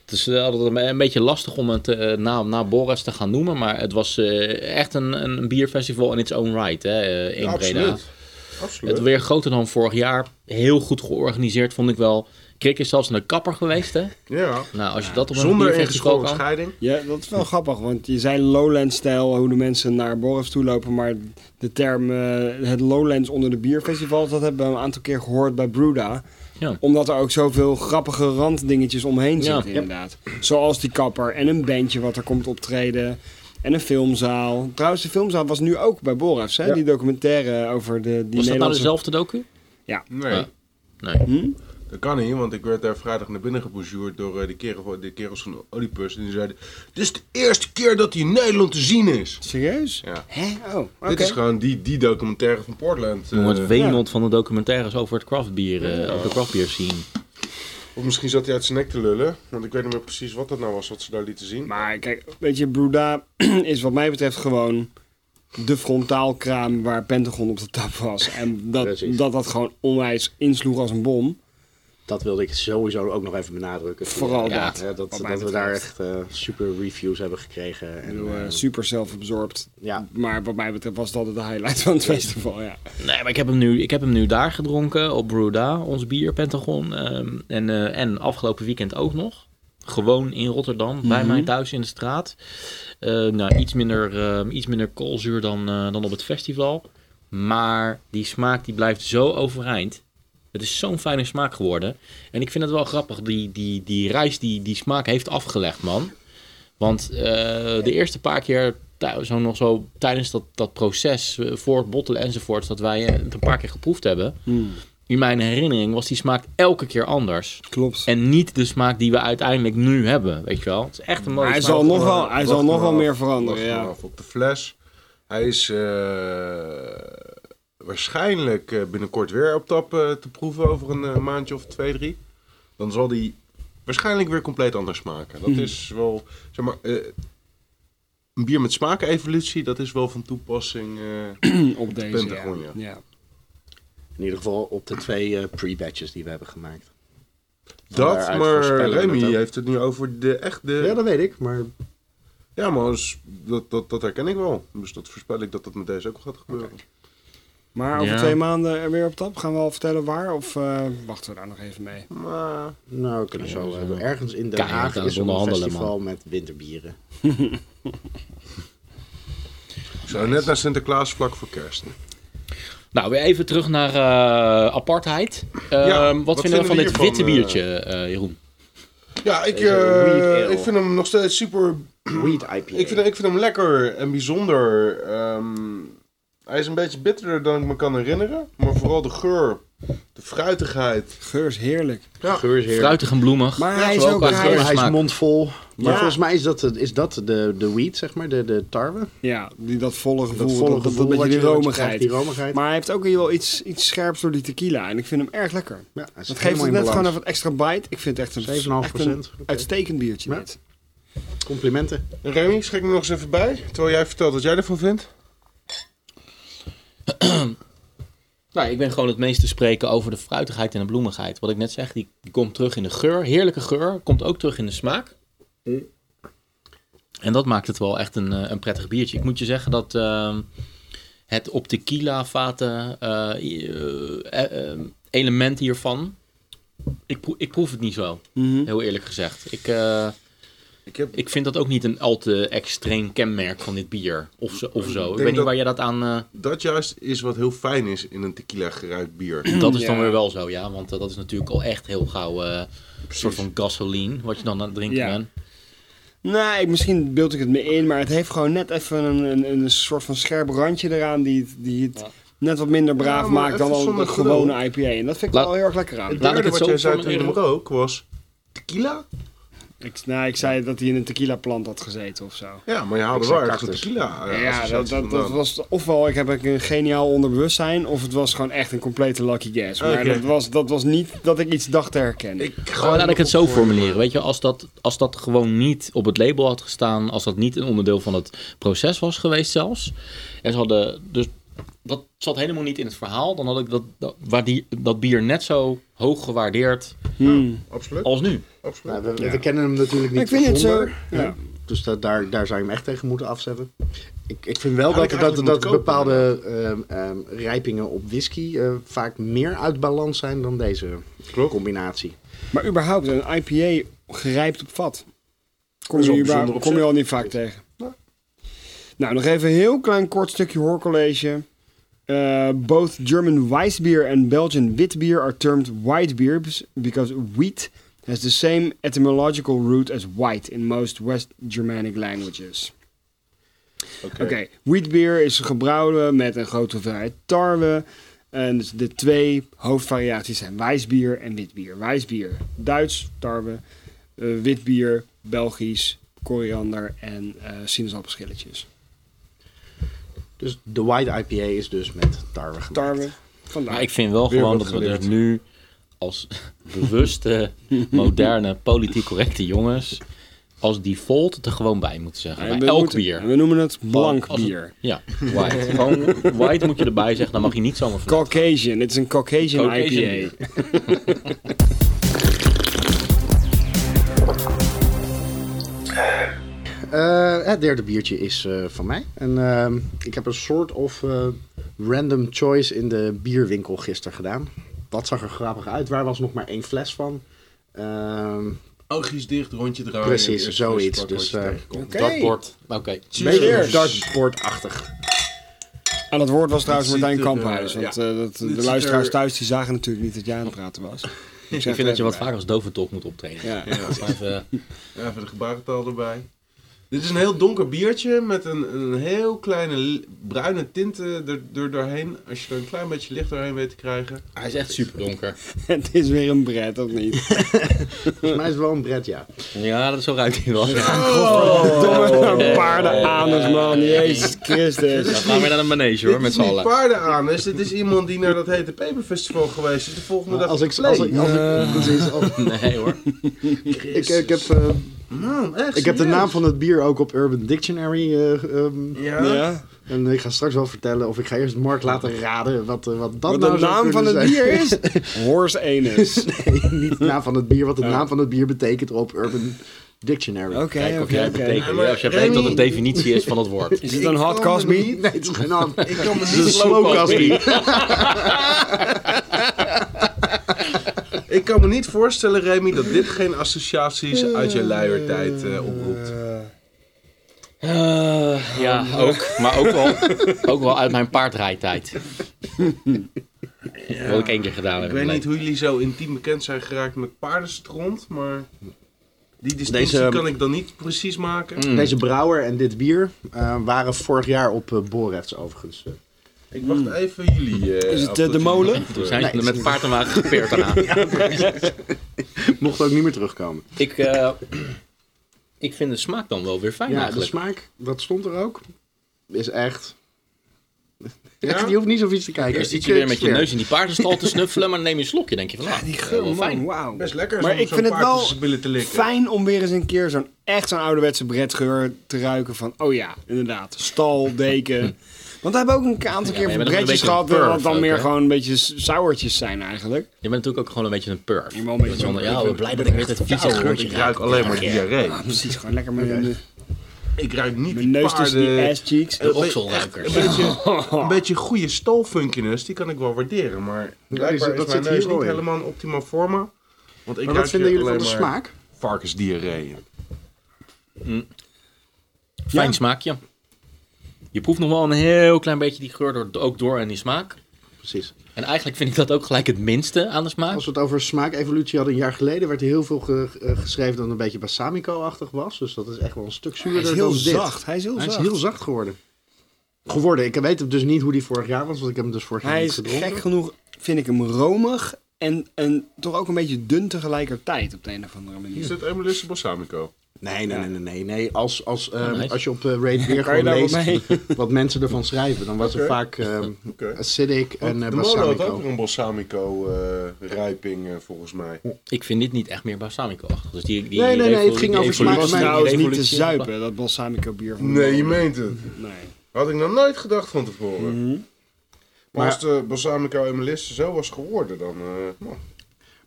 Het is eh, altijd een- een beetje lastig om het eh, na, na Boris te gaan noemen. Maar het was eh, echt een, een bierfestival in its own right. Hè, eh, in
ja,
Breda.
absoluut. absoluut.
Het weer groter dan vorig jaar. Heel goed georganiseerd, vond ik wel. Krik is zelfs naar de kapper geweest, hè?
Ja.
Nou, als je dat op een
Zonder
bierfestival
ingeschoren
kan...
scheiding.
Ja, dat is wel grappig, want je zei Lowlands-stijl, hoe de mensen naar Borrefs toe lopen, maar de term eh, het Lowlands onder de bierfestivals, dat hebben we een aantal keer gehoord bij Bruda.
Ja.
Omdat er ook zoveel grappige randdingetjes omheen
Ja.
zitten, inderdaad. Zoals die kapper en een bandje wat er komt optreden. En een filmzaal. Trouwens, de filmzaal was nu ook bij Borrefs, hè? Die documentaire over de, die
Was dat nou
Nederlandse... Hm?
dezelfde docu?
Nee,
Ja. Nee.
dat kan niet, want ik werd daar vrijdag naar binnen geboujourd door eh, die, kerel, die kerels van Oedipus. En die zeiden, dit is de eerste keer dat hij in Nederland te zien is.
Serieus?
Ja.
Hè? Oh, oké.
Dit is gewoon die, die documentaire van Portland. eh,
Jongen, het wemelt van de documentaires over het craftbier, eh, over de craftbier scene.
Of misschien zat hij uit zijn nek te lullen. Want ik weet niet meer precies wat dat nou was wat ze daar lieten zien.
Maar kijk, weet je, Bruda is wat mij betreft gewoon de frontaalkraam waar Pentagon op de tap was. En dat
Precies.
dat, dat gewoon onwijs insloeg als een bom.
dat wilde ik sowieso ook nog even benadrukken.
Vooral
Ja,
dat,
hè, dat,
wat
dat,
mij
we daar
betreft.
echt eh, super reviews hebben gekregen.
Ik
En,
bedoel, eh,
eh,
super zelfabsorbed.
ja,
Maar wat mij betreft was dat het de highlight van het festival, ja.
Nee, maar ik heb hem nu, ik heb hem nu daar gedronken, op Bruda, ons bier, Pentagon. ehm, en, eh, en afgelopen weekend ook nog. Gewoon in Rotterdam, bij mij thuis in de straat. Eh, nou, iets minder, ehm, iets minder koolzuur dan, eh, dan op het festival. Maar die smaak die blijft zo overeind. Het is zo'n fijne smaak geworden. En ik vind het wel grappig, die, die, die reis die die smaak heeft afgelegd, man. Want eh, de eerste paar keer, tij- zo nog zo tijdens dat, dat proces eh, voor het bottelen enzovoorts, dat wij eh, het een paar keer geproefd hebben. In mijn herinnering was die smaak elke keer anders.
Klopt.
En niet de smaak die we uiteindelijk nu hebben, weet je wel. Het is echt een mooie
hij
smaak.
zal nog wel, hij
Wacht
zal nog
maar
wel
af,
meer
wacht
veranderen,
maar
ja.
af op de fles. Hij is eh, waarschijnlijk eh, binnenkort weer op tap eh, te proeven over een eh, maandje of twee, drie. Dan zal
Hm.
die waarschijnlijk weer compleet anders maken. Dat is wel, zeg maar, eh, een bier met smaakevolutie, dat is wel van toepassing. eh,
Op deze.
Pentagon, ja.
ja.
In ieder geval op de twee eh, pre-batches die we hebben gemaakt.
dat,
daaruit
maar
voorspellen we
Remy
dat ook.
heeft het nu over de echt de...
Ja, dat weet ik, maar
Ja, maar als- dat, dat, dat herken ik wel. Dus dat voorspel ik dat dat met deze ook gaat gebeuren.
Maar over
Ja.
twee maanden er weer op tap. Gaan we al vertellen waar? Of eh, wachten we daar nog even mee?
Maar
nou, we kunnen zo
zijn wel
ergens in Den
keihard
Haag
aan het
is er een
onderhandelen,
festival met winterbieren.
zo net naar Sinterklaas vlak voor kerst.
Nou, weer even terug naar eh, apartheid. Ehm,
Ja,
wat,
wat
vinden we van
vinden
dit
we hiervan,
witte
eh?
biertje, eh, Jeroen?
Ja, ik,
Deze
eh,
Weed Ale.
ik vind hem nog steeds super
Weed IPA.
Ik vind, ik vind hem lekker en bijzonder. Ehm, hij is een beetje bitterder dan ik me kan herinneren. Maar vooral de geur, de fruitigheid.
Geur is heerlijk.
Ja.
Geur is heerlijk.
Fruitig en bloemig.
Maar hij is
wel
ook
qua
hij
Ja,
geur.
maar hij is
smaak.
mondvol. Maar
Ja.
volgens mij is dat, is dat de, de weed, zeg maar, de, de tarwe.
Ja, die, dat volle gevoel.
Dat volle
dat- dat-
gevoel,
dat-
wat je
die
wil, wat je
romigheid.
krijgt, die romigheid.
Maar hij heeft ook wel iets, iets scherps door die tequila. En ik vind hem erg lekker.
Ja, hij is
Dat geeft
helemaal
het
in
net gewoon
balans.
even een extra bite. Ik vind het echt een,
7,5%.
echt een
Oké.
uitstekend biertje.
Ja.
dit.
Complimenten.
En Remy, schrik me nog eens even bij. Terwijl jij vertelt wat jij ervan vindt.
Nou, ik ben gewoon het meest te spreken over de fruitigheid en de bloemigheid. Wat ik net zeg, die, die komt terug in de geur. Heerlijke geur. Komt ook terug in de smaak. En dat maakt het wel echt een, eh, een prettig biertje. Ik moet je zeggen dat ehm, het op tequila vaten eh, i- eh, eh, element hiervan... Ik, proe- ik proef het niet zo,
Mhm.
heel eerlijk gezegd. Ik, eh,
Ik heb,
ik vind dat ook niet een al te extreem kenmerk van dit bier. Of zo. Of zo. Ik weet niet
dat-
waar jij dat aan... eh,
dat juist is wat heel fijn is in een tequila geruit bier.
Dat is dan
Ja.
weer wel zo, ja. Want eh, dat is natuurlijk al echt heel gauw eh, een soort van gasoline, wat je dan aan het drinken
Ja.
bent.
Nee, misschien beeld ik het me in. Maar het heeft gewoon net even een, een, een soort van scherp randje eraan. Die het, die het net wat minder braaf
maar
maakt
even
dan al
zonder
een
gelul.
gewone IPA. En dat vind ik
Laat-
wel heel erg lekker aan.
Het
Laat ik
derde
het
wat
zo
jij zei toen je
formuleren.
hem rook was... Tequila?
Ik, nou, ik zei dat hij in een tequila plant had gezeten of zo.
Ja, maar je haalde
Ik
wel
zei
ergens een
cactus.
tequila eh,
Ja, dat,
associatie
dat, dat
vandaan.
was ofwel ik heb een geniaal onderbewustzijn, of het was gewoon echt een complete lucky guess. Maar
Oké.
dat, was, dat was niet dat ik iets dacht te herkennen.
eh, Ik ga
Oh, laat ik het zo
nog op-
formuleren. Weet je, als dat, als dat gewoon niet op het label had gestaan, als dat niet een onderdeel van het proces was geweest zelfs. En ze hadden, dus dat zat helemaal niet in het verhaal. Dan had ik dat, dat, waar die, dat bier net zo hoog gewaardeerd
Hmm.
Absoluut,
als nu.
absoluut.
Nou, we,
Ja.
we kennen hem natuurlijk niet
Ik vind het zo.
zonder.
Ja.
Dus dat, daar, daar zou je hem echt tegen moeten afzetten. Ik, ik vind wel
Had ik
dat, dat,
eigenlijk
dat,
moeten kopen,
bepaalde ehm, ehm, rijpingen op whisky eh, vaak meer uit balans zijn dan deze combinatie.
Maar überhaupt, een IPA gerijpt op vat. Kom
Dat is
je,
wel
überhaupt-
bijzonder op
kom je
zich.
al niet vaak tegen. Nou, nog even een heel klein kort stukje hoorcollege. Eh, both German Weissbier and Belgian Witbier are termed white beers because wheat has the same etymological root as white in most West Germanic languages.
Oké.
Oké, wheatbeer is gebrouwen met een grote hoeveelheid tarwe. En dus de twee hoofdvariaties zijn wijsbier en witbier. Wijsbier, Duits, tarwe. eh, witbier, Belgisch, koriander en eh sinaasappelschilletjes.
Dus de white IPA is dus met tarwe gemaakt.
Tarwe, vandaar.
Maar ik vind wel gewoon
wat
dat we
geleerd.
dus nu als bewuste, moderne, politiek correcte jongens als default er gewoon bij moeten zeggen.
En
Bij
we
elk
moeten-
bier.
en We noemen het blank
Als het-
bier.
Ja, white. gewoon white moet je erbij zeggen, dan mag je niet zomaar van.
Caucasian, het is een Caucasian,
Caucasian
IPA.
Eh, het derde biertje is eh, van mij. En ehm, ik heb een soort of eh, random choice in de bierwinkel gisteren gedaan. Dat zag er grappig uit. Waar was nog maar één fles van? Ehm,
Oogjes dicht, rondje draaien.
Precies,
Eerst
zoiets.
pakken wat je
Dus, eh,
tegenkomt.
Oké.
Dartboard. Oké.
een beetje dartboardachtig.
Aan het woord was trouwens
Dit ziet
Martijn
er,
Kamphuis.
eh,
Want
ja.
eh, dat,
Dit
de
ziet
luisteraars
er-
thuis die zagen natuurlijk niet dat jij aan het praten was. Ik,
Ik vind dat je wat vaker als doventolk moet optreden.
Ja.
Dat is maar even-
Ja, Even de gebarentaal erbij. Dit is een heel donker biertje met een, een heel kleine li- bruine tinten er, er doorheen. Als je er een klein beetje licht doorheen weet te krijgen.
Hij is echt super donker.
Het is weer een bret, of niet?
Volgens mij is het wel een bret, ja.
Oh,
Ja, dat zo ruikt hij wel.
Domme paardenanus, man. Jezus
Dan
Christus.
gaan we weer naar de manege hoor,
Dit
met
is
z'n
niet
allen.
paarden aan, dus dit is iemand die naar dat hete peperfestival geweest is. De volgende dag
Als Nou, ik...
play.
Als ik, als ik, precies, als-
Nee hoor.
ik, ik heb eh,
Man, echt.
Ik heb de
serieus?
naam van het bier ook op Urban Dictionary. eh, ehm,
Ja.
Ja.
En ik ga straks wel vertellen, of ik ga eerst Mark laten raden wat, eh, wat dat
Wat
nou
de
zou
naam van
kunnen
het
zijn.
bier is? Horse anus.
Nee, niet de naam van het bier, wat de
Ja.
naam van het bier betekent op Urban Dictionary.
Oké,
Kijk of
oké,
jij
oké.
betekent.
Ja, maar
als je weet wat de
Remy-
definitie is van het woord.
Is het een hard
Cosby?
Cosby?
Nee, het is geen naam.
Hmm.
Ik kan me
Het is
niet,
een slow
Cosby.
Cosby.
ik kan me niet voorstellen, Remy, dat dit geen associaties uit je luiertijd eh, oproept.
ja, ook. Maar ook wel, ook wel uit mijn paardrijtijd. Wat ik één keer gedaan heb.
Ik
in
weet
mijn
niet hoe jullie zo intiem bekend zijn geraakt met paardenstront, maar die distinctie
Deze, Mm. ehm,
kan ik dan niet precies maken.
Deze brouwer en dit bier eh, waren vorig jaar op eh Borefts overigens. eh.
Ik wacht even jullie. eh,
Is het,
af
eh,
dat
de
jullie-
molen?
leven. Toen zijn
Nee,
ze
het is
met paard en wagen gepeerd daarna.
Mocht ook niet meer terugkomen.
Ik, eh, ik vind de smaak dan wel weer fijn
Ja, de
eigenlijk.
smaak, dat stond er ook, is echt...
Ja?
Je hoeft niet zo iets te kijken.
Eerst zit
Ik- eh,
je weer
ik
met je
zweer.
neus in die paardenstal te snuffelen, maar dan neem je een slokje denk je van, ah,
Die
eh,
geur,
wel
man,
fijn.
wauw.
Best lekker.
Maar
zo'n-
ik
zo'n
vind het
paard
wel
tussen billen te likken.
Fijn om weer eens een keer zo'n echt zo'n ouderwetse bredgeur te ruiken van, oh ja, inderdaad, stal, deken. Want we hebben ook een aantal
maar
keer
je bent
van
ook een
bredjes
beetje
gehad, eh,
een
wat
perv
dan
ook,
meer
hè?
gewoon een beetje sauertjes zijn eigenlijk.
Je bent natuurlijk ook gewoon een beetje een perf.
ben wel een beetje
Dat je
een
wel-
perf.
ja, oh, blij dat ik weer dat vieze geurtje
Ik ruik alleen maar diarree.
Ah, precies, gewoon lekker met mijn-
Ik ruik niet
mijn
die
neus tussen die
paarden-
ass cheeks.
De
Echt,
okselruikers.
Een beetje, een beetje goede stalfunkiness, die kan ik wel waarderen. Maar blijkbaar
dat
is
zit
mijn neus
hier wel
niet
in.
helemaal in optima forma. Want ik
Maar
ruik
wat vinden
hier
jullie van de
alleen maar
smaak?
Varkensdiarree. in.
Fijn smaakje. Je proeft nog wel een heel klein beetje die geur door, ook door en die smaak.
Precies.
En eigenlijk vind ik dat ook gelijk het minste aan de smaak.
Als we het over smaakevolutie hadden, een jaar geleden werd er heel veel ge- eh, geschreven dat het een beetje balsamico-achtig was. Dus dat is echt wel een stuk
Hij
zuurder
is heel
dan dit.
zacht, hij is heel
Hij is
zacht.
heel zacht geworden. Geworden. Ik weet dus niet hoe die vorig jaar was, want ik heb hem dus vorig jaar
Hij
niet
is
gedronken.
gek genoeg, vind ik hem romig en, en toch ook een beetje dun tegelijkertijd op de een of andere
Is
manier.
dit Emelisse Balsamico?
Nee, nee, nee, nee, nee. nee. Als, als, ehm,
nice.
als je op eh Raid weer
Kan je
gewoon
daar wat
leest
mee?
wat mensen ervan schrijven, dan was er
Oké.
vaak ehm
Oké.
acidic en eh,
de molen had ook
balsamico.
weer een balsamico-rijping eh, volgens mij.
Ik vind dit niet echt meer balsamico -achtig. Dus die, die
Nee, nee, nee, het
evolu-
ging
die
over
Maar was
smaak.
evolutie-
mij
trouwens
die
niet te
evolutie-
zuipen, dat balsamico bier van
Nee, je
Noorden.
meent het.
Nee.
Had ik nog nooit gedacht van tevoren. Mhm. Maar
Maar-
als de balsamico Emelisse zo was geworden, dan... eh, nou,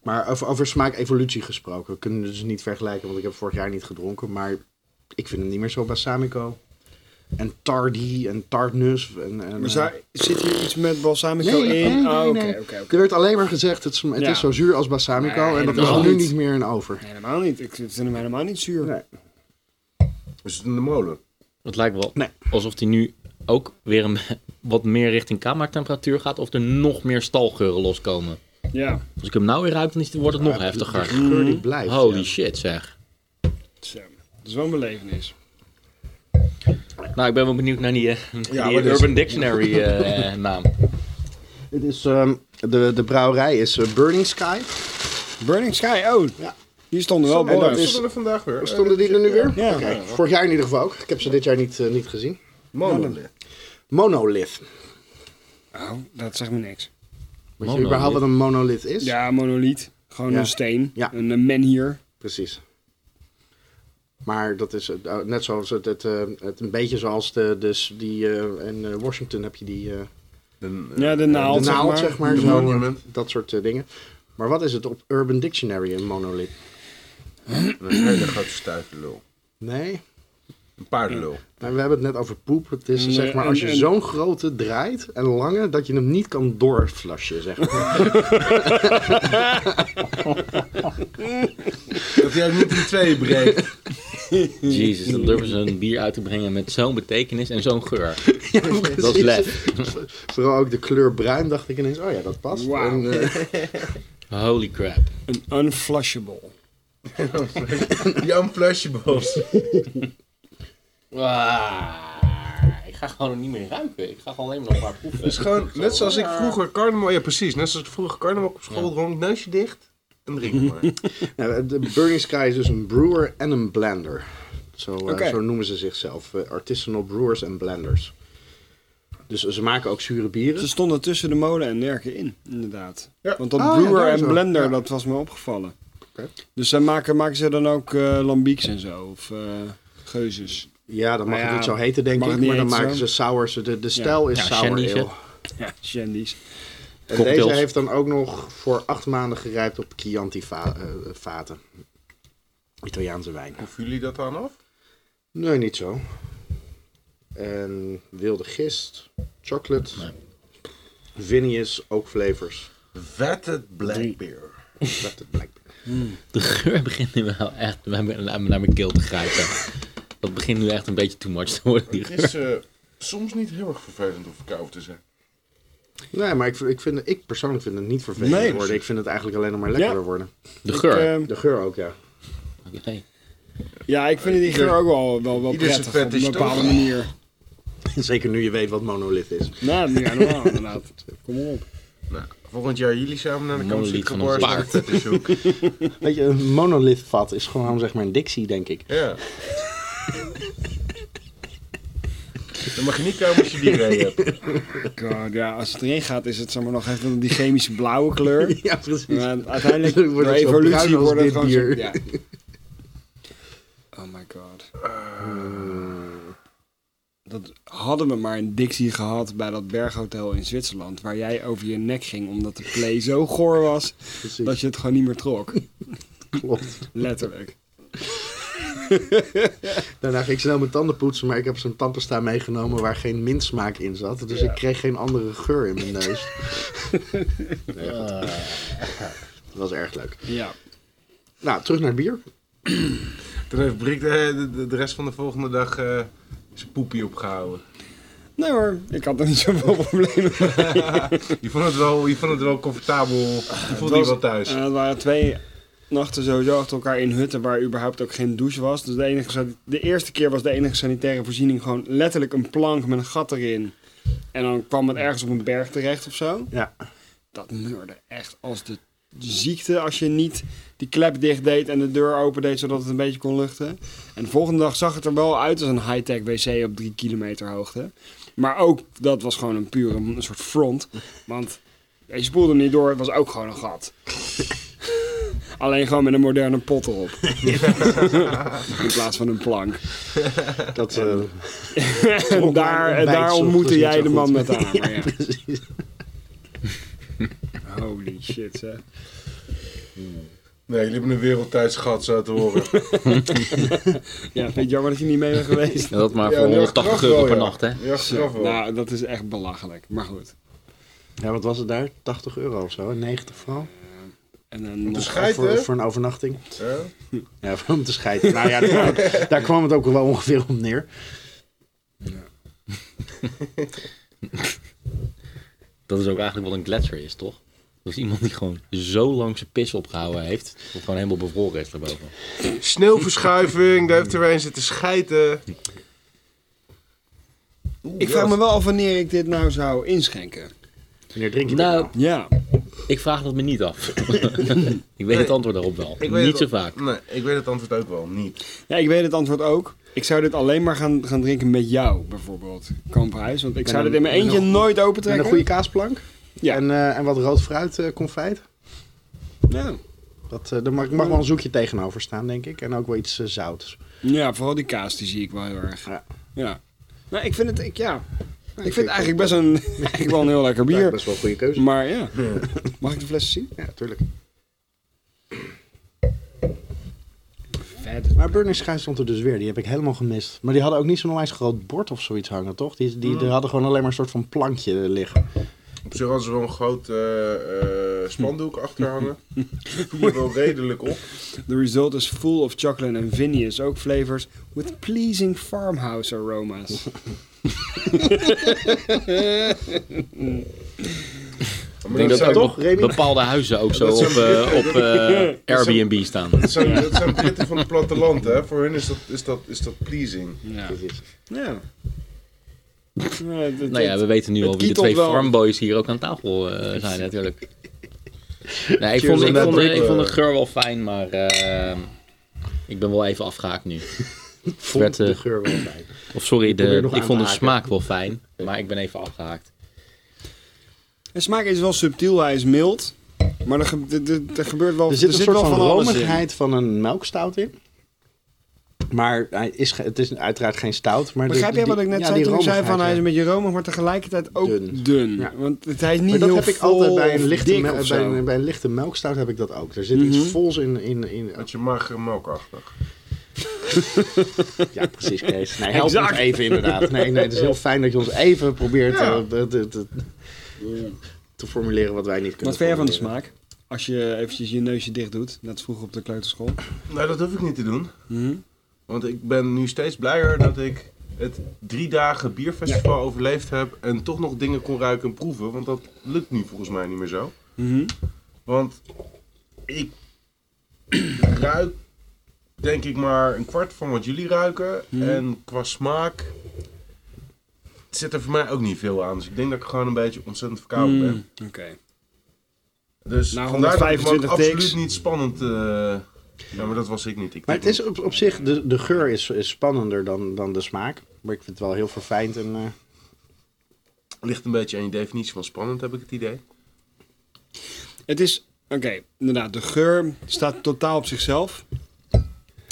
Maar over, over smaakevolutie gesproken. We kunnen het dus niet vergelijken, want ik heb vorig jaar niet gedronken. Maar ik vind hem niet meer zo balsamico. En tardy en tartnus. En, en,
Maar
eh,
zou- zit hier iets met balsamico
Nee, nee,
in?
nee,
Oh, Oké, oké,
nee.
oké.
Er werd alleen maar gezegd, het, sm- het
Ja.
is zo zuur als balsamico.
Nee,
en dat is
helemaal
er nu
niet.
niet meer in over.
Helemaal niet. Ik vind hem helemaal niet zuur.
Nee.
is het in de molen?
Het lijkt wel
Nee.
alsof die nu ook weer een, wat meer richting kamertemperatuur gaat. Of er nog meer stalgeuren loskomen.
Ja.
Als ik hem nou weer ruik, dan is- wordt het nog heftiger.
De geur
Mm.
die blijft.
Holy
ja.
shit zeg.
Zo. Dat is wel een belevenis.
Nou, ik ben wel benieuwd naar die, eh, die
wat is
Urban Dictionary eh, naam.
Dit is, ehm, de, de brouwerij is eh, Burning Sky.
Burning Sky, oh.
Ja.
Hier stonden wel
Oh,
En dat
borrels.
dat
is-
is er vandaag weer. eh,
Stonden die er nu weer?
Ja.
Oké. Vorig jaar in ieder geval ook. Ik heb ze dit jaar niet, eh, niet gezien.
Molen.
Monolith.
Oh, dat zegt me niks.
Weet je überhaupt wat een monolith is?
Ja, monoliet. Gewoon
Ja.
een steen.
Ja.
Een, een men hier.
Precies. Maar dat is het, eh, net zoals het, het, eh, het een beetje zoals de, dus die, eh, in eh, Washington heb je die eh,
Een, eh,
Ja, de naald,
de naald, zeg maar.
De
zo, eh,
monument.
dat soort eh, dingen. Maar wat is het op Urban Dictionary, een monolith?
een hele grote stuive lul.
Nee,
Een paardenlul.
maar we hebben het net over poep. Het is
Nee,
zeg maar
en-
als je
en-
zo'n grote draait en lange, dat je hem niet kan doorflashen, zeg maar.
Dat jij hem niet in tweeën breekt.
Jezus, dan durven ze een bier uit te brengen met zo'n betekenis en zo'n geur.
Ja, precies.
Dat is lef.
Vooral ook de kleur bruin dacht ik ineens, oh ja, dat past.
Wauw.
En, eh,
Holy crap.
Een unflushable.
Jan Flesjebos.
Ah, ik ga gewoon er niet meer ruiken. Ik ga gewoon alleen maar een paar proeven.
Het is gewoon net zoals ik vroeger carnaval... Ja, precies. Net zoals ik vroeger carnaval op school dronk. Neusje dicht en drink maar.
nou, de Burning Sky is dus een brewer en een blender. Zo, eh,
Oké.
zo noemen ze zichzelf. eh, artisanal brewers en blenders. Dus ze maken ook zure bieren.
Ze stonden tussen de molen en derken in, inderdaad.
Ja.
Want dat
Ah, ja,
brewer
daar
en
zo.
blender,
Ja.
dat was me opgevallen. Dus zij maken, maken ze dan ook eh lambieks en zo? Of eh, geuzes?
Ja, dat mag
Nou
het
ja,
niet zo heten, denk
mag
ik.
het niet
Maar dan
heten
maken
zo.
ze sours. De, de stijl is
Ja,
sour
Shandy's,
ale.
hè.
Ja, shandies.
En
Cocktails.
deze heeft dan ook nog voor acht maanden gerijpt op Chianti-vaten. Italiaanse wijn.
Hoeven jullie dat dan af?
Nee, niet zo. En wilde gist, chocolate, vinnies, ook flavors.
Vetted black beer.
Dat het blijkt.
De geur begint nu wel echt naar mijn, naar mijn- naar mijn keel te grijpen. Dat begint nu echt een beetje too much te worden, die
Het
geur.
is eh, soms niet heel erg vervelend om verkouden te zijn.
Nee, maar ik, ik, vind, ik persoonlijk vind het niet vervelend
Nee,
worden. Ik vind het eigenlijk alleen nog maar lekkerder worden.
De geur.
ehm,
Ik, eh,
De geur ook, ja.
Oké.
ja, ik vind die geur ook wel, wel, wel
ieder zijn
prettig op een
fetish,
bepaalde
toch?
manier.
Zeker nu je weet wat monolith is.
Nou, dat is niet normaal inderdaad. Kom op.
Nou, volgend jaar jullie samen naar de
Monolith
kampziek
van ons
geborgen. Dat is ook.
Weet je, een monolithvat is gewoon zeg maar een dictie, denk ik.
Ja. Dan mag je niet komen als je die reden hebt.
God, ja, als het erin gaat is het zeg maar, nog even die chemische blauwe kleur.
Ja, precies.
Maar uiteindelijk
Wordt
door
het zo bruin
evolutie
als
worden het
dit
gewoon zo-
bier.
ja. Oh my god. Eh, Dat hadden we maar een Dixie gehad bij dat berghotel in Zwitserland. Waar jij over je nek ging omdat de play zo goor was
Precies.
dat je het gewoon niet meer trok.
Klopt.
Letterlijk.
Daarna ging ik snel mijn tanden poetsen, maar ik heb zo'n tandpasta meegenomen waar geen mintsmaak in zat. Dus ik kreeg geen andere geur in mijn neus. nee, goed. Dat was erg leuk.
Ja.
Nou, terug naar het bier.
Toen heeft Brik de, de, de rest van de volgende dag eh, zijn poepie opgehouden.
Nee hoor, ik had er niet zoveel problemen mee.
Je vond het wel, je vond het wel comfortabel. Je voelde je
was-
wel thuis.
Eh, het waren twee nachten sowieso achter elkaar in hutten waar überhaupt ook geen douche was. Dus de, enige, san- de eerste keer was de enige sanitaire voorziening gewoon letterlijk een plank met een gat erin. En dan kwam het ergens op een berg terecht of zo.
Ja.
Dat meurde echt als de ziekte als je niet die klep dicht deed en de deur open deed zodat het een beetje kon luchten. En de volgende dag zag het er wel uit als een high-tech wc op drie kilometer hoogte. Maar ook dat was gewoon een pure een soort front. Want je spoelde niet door, het was ook gewoon een gat. Alleen gewoon met een moderne pot erop. In plaats van een plank.
Dat, eh,
En daar, en daar
ontbijt
ontmoette
is niet
jij
zo
de man
goed.
met de hamer. ja.
precies.
Holy shit, hè.
Nee, jullie hebben een wereldtijds gehad, zo te horen.
Ja, vind je het jammer dat je niet mee bent geweest?
En dat maar
Ja,
voor
nu
180
achteraf
euro
wel,
per
ja.
nacht, hè?
Ja, achteraf wel.
Nou, dat is echt belachelijk. Maar goed.
ja, wat was het daar? 80 euro of zo? 90 vooral?
En dan
de
nog...
schijt,
voor,
hè?
voor een overnachting?
Ja.
Ja, voor om te scheiden. Nou ja, daar, daar kwam het ook wel ongeveer om neer.
Dat is ook eigenlijk wat een gletsjer is, toch? Dat is iemand die gewoon zo lang zijn pis opgehouden heeft, dat het gewoon helemaal bevroren is daarboven.
Sneeuwverschuiving, daar heeft er weer een zitten schijten.
Ik vraag me wel af wanneer ik dit nou zou inschenken.
Wanneer drink je dit
Nou,
Ja.
ik vraag dat me niet af. ik weet het antwoord daarop wel.
Ik weet
Niet zo
het-
vaak.
Nee, ik weet het antwoord ook wel niet.
Ja, ik weet het antwoord ook. Ik zou dit alleen maar gaan, gaan drinken met jou, bijvoorbeeld, Kamphuis. Want ik zou
een-
dit in mijn
met een
eentje
goe-
nooit open
Met
trekken.
een goede kaasplank.
Ja.
En, eh, en wat rood fruit eh, confijt.
Ja.
Dat, eh, daar mag, mag wel een zoekje tegenover staan, denk ik. En ook wel iets eh, zouts.
ja, vooral die kaas, die zie ik wel heel erg.
Ja.
Ja. Nou, ik vind het, ik, ja. ik
ik
vind het
ook
eigenlijk best een, eigenlijk wel een heel lekker
Ja,
bier.
best wel een goede keuze.
Maar ja. Mag ik de flessen zien?
Ja, tuurlijk.
Verder.
Maar Burning Sky stond er dus weer. Die heb ik helemaal gemist. Maar die hadden ook niet zo'n onwijs groot bord of zoiets hangen, toch? Die, die, die hadden gewoon alleen maar een soort van plankje liggen.
Op zich hadden ze wel een groot eh, eh, spandoek achterhangen. Voel je wel redelijk op.
The result is full of chocolate and vinous oak flavors with pleasing farmhouse aromas.
Maar
Ik denk dat,
zijn
ook
Toch, Remy?
bepaalde huizen ook zo
Dat
op,
zijn
eh,
Britten.
op eh, Airbnb staan.
Dat zijn, dat zijn Britten van het platteland, hè? Voor hun is dat, is dat, is dat pleasing.
Ja.
Precies.
Ja. Ja, dat-
Nou ja, we weten nu
het
al wie de
kietelt
twee
wel.
farmboys hier ook aan tafel eh, zijn natuurlijk. Nee, ik,
Cheers
vond,
on
ik,
that
vond,
brick,
ik vond
eh.
de geur wel fijn, maar eh, ik ben wel even afgehaakt nu.
Vond
Werd, eh,
de geur wel bij.
Of sorry,
probeer
de,
nog
ik
aan
vond
te
de
haken.
smaak wel fijn, maar ik ben even afgehaakt.
De smaak is wel subtiel, hij is mild. Maar er, ge- d- d- er gebeurt wel.
Er zit een soort
wel
van,
alles in.
romigheid van een melkstout in. Maar hij is, ge- het is uiteraard geen stout. Maar
Begrijp
de-
jij wat
die-
ik net
ja,
zei
die
toen ik zei van
romigheid,
hij is
ja.
een beetje romig, maar tegelijkertijd ook dun.
Dun. Ja.
Want het, hij is niet
Maar dat
heel
heb ik
vol
altijd bij een
of
lichte,
dik
me-
of
bij
zo.
een, bij een lichte melkstout heb ik dat ook. Er zit
Mhm.
iets vols in. in, in
Met je magere melkachtig.
ja, precies, Kees. Nee, help
Exact.
ons even inderdaad. Nee, nee, het is heel fijn dat je ons even probeert
Ja.
eh, te, te, te, te formuleren wat wij niet kunnen.
Wat vind jij van de
formuleren.
smaak? Als je eventjes je neusje dicht doet, net als vroeger op de kleuterschool.
Nou, dat hoef ik niet te doen.
Mhm.
Hmm?
Want ik ben nu steeds blijer dat ik het drie dagen bierfestival overleefd heb. En toch nog dingen kon ruiken en proeven. Want dat lukt nu volgens mij niet meer zo.
Hmm?
Mhm.
Want ik ruik denk ik maar een kwart van wat jullie ruiken.
Hmm?
En qua smaak zit er voor mij ook niet veel aan. Dus ik denk dat ik gewoon een beetje ontzettend verkouden
Hmm.
ben.
Oké.
Dus
Nou,
vandaar dat ik me ook
125
absoluut
takes.
niet spannend... eh, ja, maar dat was ik niet. Ik
Maar het is op, op zich, de, de geur is, is spannender dan, dan de smaak. Maar ik vind het wel heel verfijnd. En, eh,
ligt een beetje aan je definitie van spannend, heb ik het idee.
Het is, oké, inderdaad, de geur staat totaal op zichzelf.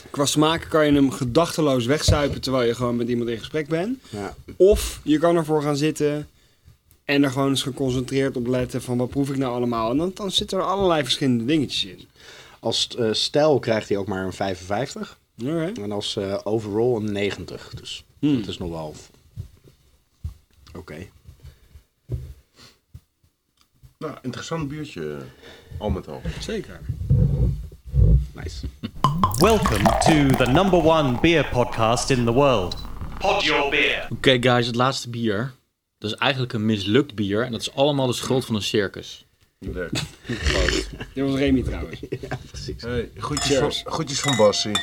Qua smaak kan je hem gedachteloos wegzuipen terwijl je gewoon met iemand in gesprek bent.
ja.
Of je kan ervoor gaan zitten en er gewoon eens geconcentreerd op letten van wat proef ik nou allemaal. En dan, dan zitten er allerlei verschillende dingetjes in.
Als eh, stijl krijgt hij ook maar een 55.
Oké.
En als eh, overall een 90. Dus
Hmm.
dat is nog wel... Oké.
Nou, interessant biertje, al met al.
Zeker.
Nice.
Welcome to the number one beer podcast in the world. Pod Your Beer.
Oké, guys, het laatste bier. Dat is eigenlijk een mislukt bier. En dat is allemaal de schuld van een circus.
Dit was Remy trouwens.
Precies.
Hey, goedjes,
Cheers.
van, goedjes van Bassie.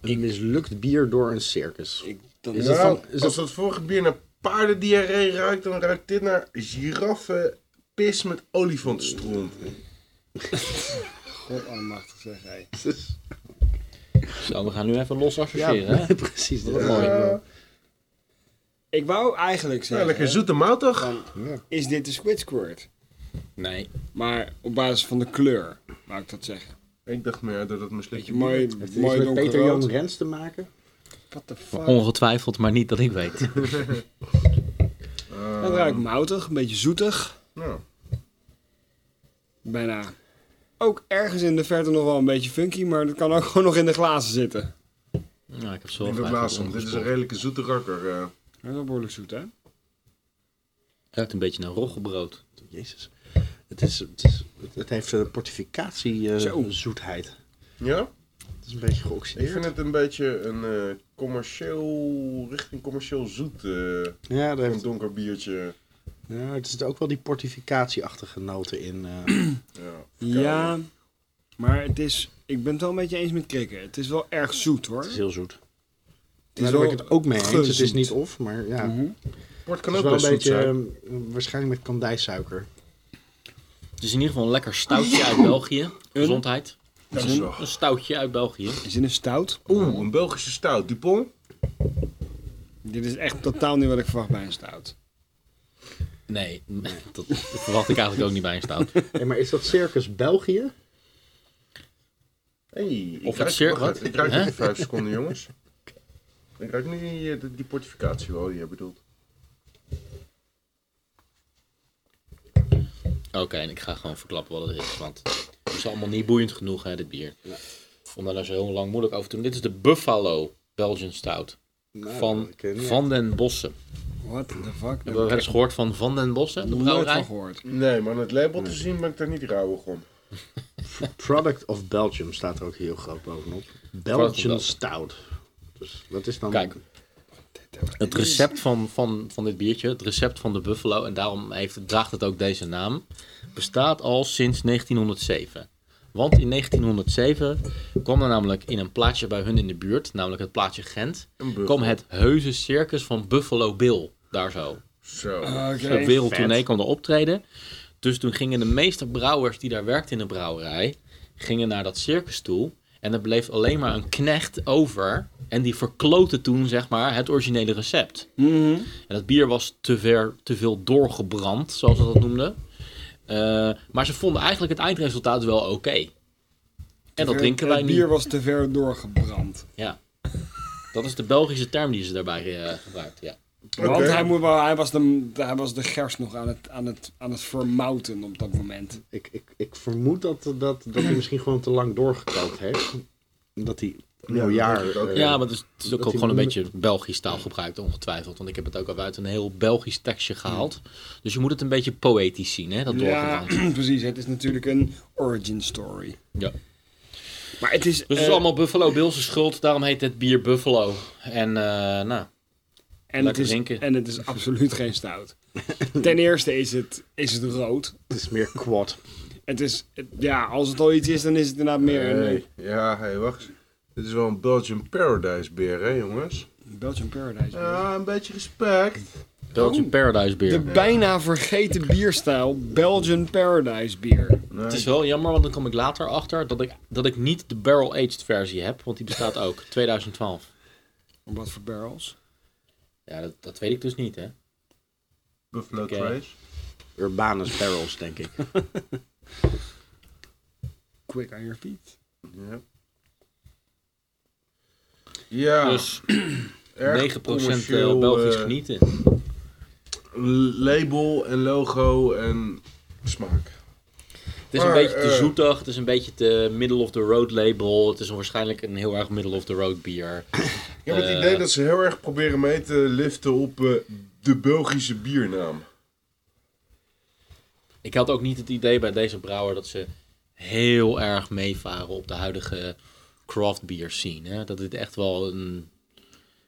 Een mislukt bier door een circus.
Dan
Is
is
dat
Nou,
van- is
als dat vorige bier naar paardendiarree ruikt, dan ruikt dit naar giraffenpis met olifantenstront.
God almachtig zeg hij.
Zo, we gaan nu even los associëren. hè?
Precies.
Wat
dat-
mooi.
Ik wou eigenlijk
Ja,
zeggen,
lekker zoete moutig.
Van- is dit de Squid Squirt?
Nee.
Maar op basis van de kleur, wou ik dat zeggen.
Ik dacht meer dat het mislukt.
Beetje mooi,
Heeft het iets
mooi
met Peter Jan
donkerrood.
Rens te maken?
What the fuck?
Ongetwijfeld, maar niet dat ik weet.
Het ruikt moutig, een beetje zoetig.
Nou,
Bijna. Ook ergens in de verte nog wel een beetje funky, maar dat kan ook gewoon nog in de glazen zitten.
Nou, ik heb zo
ik denk dat laatste, want dit is een redelijke zoete rakker. eh.
Dat is wel behoorlijk zoet, hè?
ruikt een beetje naar roggebrood.
Jezus. Het, is, het, is, het heeft een portificatie eh,
Zo.
zoetheid.
Ja,
Het is een beetje
ik
geoxideerd.
vind het een beetje een eh, commercieel, richting commercieel zoet. eh,
Ja, daar
een
heeft,
donker biertje.
ja, er zitten ook wel die portificatieachtige noten in. eh.
Ja,
Ja, maar het is... Ik ben het wel een beetje eens met krikken. Het is wel erg zoet, hoor.
het is heel zoet.
is
Nou, daar ben ik
wel
het ook mee eens. Het is
gezoet.
niet of, maar ja.
Port
Het
kan
is
ook
wel
best
een
zoet
beetje,
zijn.
eh, waarschijnlijk met kandijsuiker.
Het is in ieder geval een lekker stoutje uit België. Gezondheid.
Dat is wel.
Een stoutje uit België.
Is dit een stout?
Oeh, een Belgische stout. Dupont?
Dit is echt totaal niet wat ik verwacht bij een stout.
Nee, dat verwacht ik eigenlijk ook niet bij een stout.
Hey, maar is dat Circus België?
Hey, ik
Of het
ruik-
zeer-
wacht
wat?
even, Ik ruik
Hè?
even vijf seconden, jongens. Ik ruik nu die, eh, die, die portificatie wel die jij bedoelt.
Oké, en ik ga gewoon verklappen wat het is. Want het is allemaal niet boeiend genoeg, hè, dit bier. Om daar nou zo heel lang moeilijk over te doen. Dit is de Buffalo Belgian Stout. Van Van den Bossen.
What the fuck?
Hebben we wel eens gehoord van Van den Bossen, de
nooit van
brouwerij?
gehoord.
Nee, maar aan het label te zien ben ik daar niet rauwig om.
Product of Belgium staat er ook heel groot bovenop.
Product of
Belgian
Belgium.
Stout. Dus dat is dan...
Kijk. Het recept van, van, van dit biertje, het recept van de Buffalo, en daarom heeft, draagt het ook deze naam, bestaat al sinds 1907. Want in 1907 kwam er namelijk in een plaatsje bij hun in de buurt, namelijk het plaatsje Gent,
buffel.
kwam het heuse circus van Buffalo Bill daar zo.
Zo.
Op wereldtournee kwam er optreden. Dus toen gingen de meeste brouwers die daar werkten in de brouwerij, gingen naar dat circus toe. En er bleef alleen maar een knecht over. En die verklote toen, zeg maar, het originele recept.
Mhm.
En dat bier was te, ver, te veel doorgebrand, zoals ze dat noemden. Eh, maar ze vonden eigenlijk het eindresultaat wel oké. En dat drinken wij
het
niet.
bier was te ver doorgebrand.
Ja. Dat is de Belgische term die ze daarbij eh, gebruikt. Ja.
Want hij, moet wel, hij, was de, hij was de gerst nog aan het, aan het, aan het vermouten op dat moment.
Ik, ik, ik vermoed dat, dat, dat hij misschien gewoon te lang doorgekookt heeft. Dat hij een jaar... eh,
ja, maar het is, het is ook,
Dat die
gewoon een
moeder-
beetje Belgisch taal gebruikt, ongetwijfeld. Want ik heb het ook al uit een heel Belgisch tekstje gehaald. Dus je moet het een beetje poëtisch zien, hè, dat
Ja,
doorgebrand.
precies. Het is natuurlijk een origin story.
Ja.
Maar het is...
Dus het
eh,
is allemaal Buffalo Bills' schuld, daarom heet het bier Buffalo. En eh, nou,
en, het
lekker
is
drinken.
en het is absoluut geen stout. Ten eerste is het, is het rood.
Het is meer quad.
Het is... het- ja, als het al iets is, dan is het inderdaad meer een
Hey, ja, hey, wacht. eens. Dit is wel een Belgian Paradise beer, hè, jongens?
eh, Belgian Paradise.
Ja, een beetje respect.
Belgian Paradise bier.
De bijna vergeten bierstijl Belgian Paradise bier.
Het is wel jammer, want dan kom ik later achter dat ik, dat ik niet de barrel-aged versie heb. Want die bestaat ook, 2012.
Om Wat voor barrels?
Ja, dat, dat weet ik dus niet, hè.
Buffalo
Oké.
Trace.
Urbanus barrels, denk ik.
Quick on your feet.
Ja. Ja,
Dus 9%
commercieel,
eh, Belgisch
eh,
genieten.
label en logo en smaak.
Het is een
Maar,
beetje te
eh,
zoetig, het is een beetje te middle of the road label. Het is een- waarschijnlijk een heel erg middle of the road bier.
Ik heb het
Eh.
idee dat ze heel erg proberen mee te liften op eh, de Belgische biernaam.
Ik had ook niet het idee bij deze brouwer dat ze heel erg meevaren op de huidige craft beer scene. Hè? Dat dit echt wel een,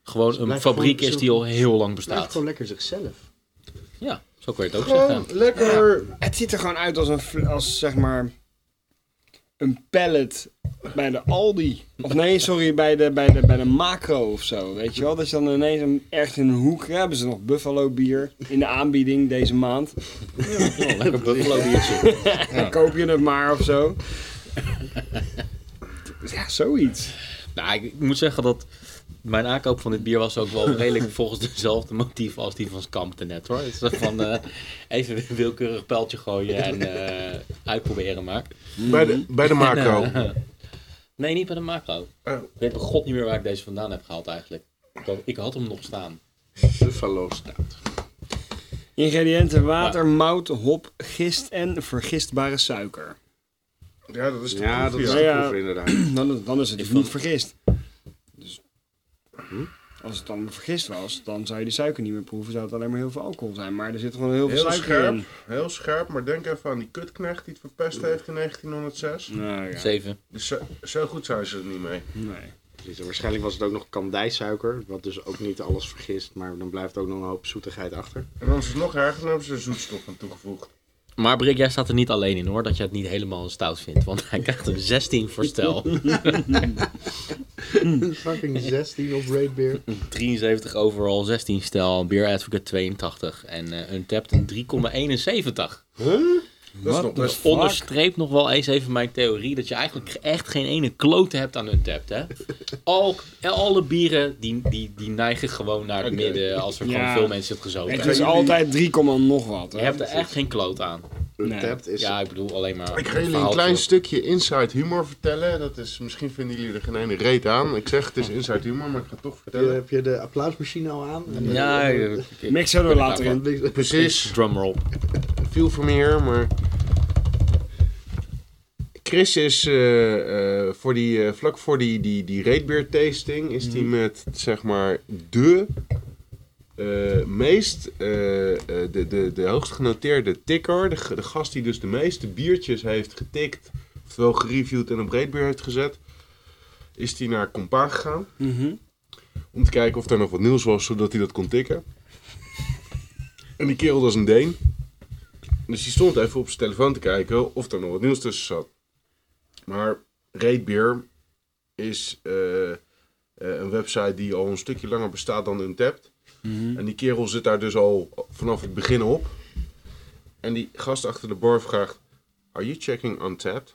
gewoon een
blijft
fabriek
gewoon
is
zo-
die al heel lang
Het blijft
bestaat.
gewoon lekker zichzelf.
Ja, zo kun je het ook
Gewoon
zeggen.
lekker.
Het ziet er gewoon uit als een, fl- als zeg maar, een pallet bij de Aldi. Of nee, sorry, bij de, bij, de, bij de Macro of zo, weet je wel. Dat is dan ineens een, ergens in een hoek, ja, hebben ze nog buffalo bier in de aanbieding deze maand.
Oh, lekker buffalo biertje.
Dan koop je het maar of zo. Ja, zoiets.
Nou, ik, ik moet zeggen dat mijn aankoop van dit bier was ook wel redelijk volgens dezelfde motief als die van Skampte net hoor. Het is echt van eh, even een willekeurig pijltje gooien en eh, uitproberen maar.
Bij de, bij de macro.
Nee, niet bij de macro.
Oh.
Ik weet bij god niet meer waar ik deze vandaan heb gehaald eigenlijk. Ik had- Ik had hem nog staan.
Buffalo staat.
Ingrediënten water, mout, hop, gist en vergistbare suiker.
Ja, dat is de
Ja, dat
proef,
is
ja.
de Ja.
ja. inderdaad.
Dan, dan is het dus
vond-
niet vergist. Dus hm? als het dan vergist was, dan zou je de suiker niet meer proeven. Zou het alleen maar heel veel alcohol zijn. Maar er zit gewoon heel veel
Heel
suiker
scherp,
in.
heel scherp, maar denk even aan die kutknecht die het verpest heeft in 1906.
Nou ja,
Zeven.
Dus zo, zo goed zijn ze er niet mee.
nee.
Precies, en Dus waarschijnlijk was het ook nog kandijsuiker, wat dus ook niet alles vergist, maar dan blijft ook nog een hoop zoetigheid achter.
En dan is het nog erger, dan hebben ze er zoetstof aan toegevoegd.
Maar Brik, jij staat er niet alleen in hoor, dat je het niet helemaal een stout vindt. Want hij krijgt een 16 voor stel.
Fucking 16 op Raid Beer.
73 overall, 16 stel, Beer Advocate 82 en eh Untapped een 3,71.
Dat is nog best
Dus onderstreept nog wel eens even mijn theorie dat je eigenlijk echt geen ene klote hebt aan Untapped. Hè? Al, alle bieren die, die, die neigen gewoon naar het
Oké.
midden als er
Ja.
gewoon veel mensen het gezogen
Het
hebben.
is
jullie-
altijd 3, nog wat.
Je
Hè?
hebt er echt geen kloot aan.
Untapped is
Ja, ik bedoel alleen maar.
Ik ga jullie een
verhaaltje.
klein stukje inside humor vertellen. Dat is, misschien vinden jullie er geen ene reet aan. Ik zeg het is inside humor, maar ik ga het toch
Heb je-
vertellen.
heb je de applausmachine al aan? En,
Ja,
en-
ik- ik-
Mix zo er later in.
Precies,
drumroll.
viel voor meer, maar... Chris is eh, eh, voor die, eh, vlak voor die, die, die reetbeer tasting is die met zeg maar de eh, meest, eh, eh, de, de, de hoogst genoteerde tikker, de, g- de gast die dus de meeste biertjes heeft getikt, oftewel gereviewd en op reetbeer heeft gezet, is die naar Compa gegaan. Om te kijken of er nog wat nieuws was, zodat hij dat kon tikken. En die kerel was een Deen. Dus die stond even op zijn telefoon te kijken of er nog wat nieuws tussen zat. Maar Reetbeer is eh, eh, een website die al een stukje langer bestaat dan Untapped. En die kerel zit daar dus al vanaf het begin op. En die gast achter de bar vraagt, are you checking Untapped?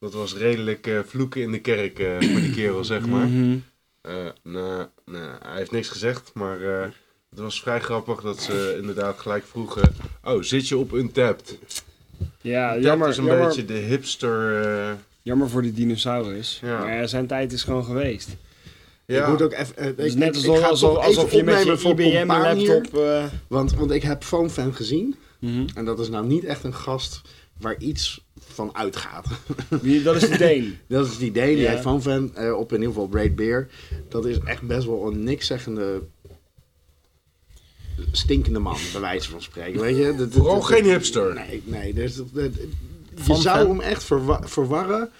Dat was redelijk eh, vloeken in de kerk eh, voor die kerel, zeg maar. Eh, nou, nou, hij heeft niks gezegd, maar eh, het was vrij grappig dat ze inderdaad gelijk vroegen... Oh, zit je op Untapped?
Ja,
Jammer,
jammer,
is een
jammer,
beetje de hipster... eh,
jammer voor die dinosaurus.
Ja.
Maar ja, zijn tijd is gewoon geweest.
ja.
Ik moet ook even. eh,
Dus
ik-
net
ik-
alsof,
ik ga het
alsof,
toch even
alsof je met
opnemen
je
voor
IBM
compaan hier.
laptop... eh,
Want, want ik heb Phone Fan gezien.
Mhm.
En dat is nou niet echt een gast waar iets van uitgaat.
wie- dat is de Deen.
dat is het idee. Die
Ja.
heeft Phone Fan eh, op in ieder geval Braid Beer. Dat is echt best wel een nikszeggende. stinkende man, bij wijze van spreken. Weet je? Dat- dat-
Vooral
dat-
geen hipster.
Nee, nee. Dus, dat- dat- je
Van
zou
Fan.
hem echt verwa- verwarren.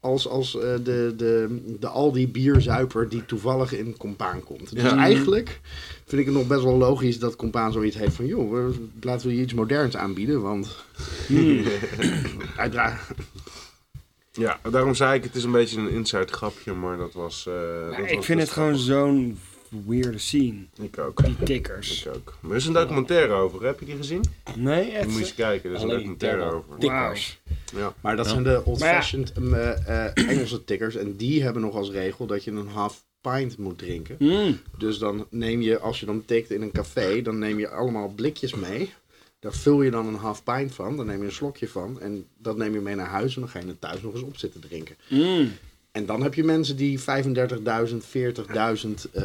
Als, als eh, de, de, de Aldi bierzuiper die toevallig in Compaan komt. Dus
Ja.
eigenlijk vind ik het nog best wel logisch dat Compaan zoiets heeft van... joh, we- laten we je iets moderns aanbieden, want... Uiteraard.
Ja, daarom zei ik, het is een beetje een inside grapje, maar dat was... eh, dat
Maar
was
ik vind het
best
gewoon zo'n weirde scene.
grappig. Ik ook.
Die tikkers.
Ik ook. Maar er is een documentaire over, heb je die gezien?
Nee,
Die moet je eens
echt?
kijken, er is een
Alleen
documentaire
Terra.
over.
Wauw.
Ja.
Maar dat zijn de
Maar ja.
old-fashioned eh, eh, Engelse tikkers. En die hebben nog als regel dat je een half pint moet drinken.
Mm.
Dus dan neem je, als je dan tikt in een café, dan neem je allemaal blikjes mee. Daar vul je dan een half pint van, dan neem je een slokje van. En dat neem je mee naar huis en dan ga je het thuis nog eens op zitten drinken.
Mm.
En dan heb je mensen die 35.000, 40.000 eh,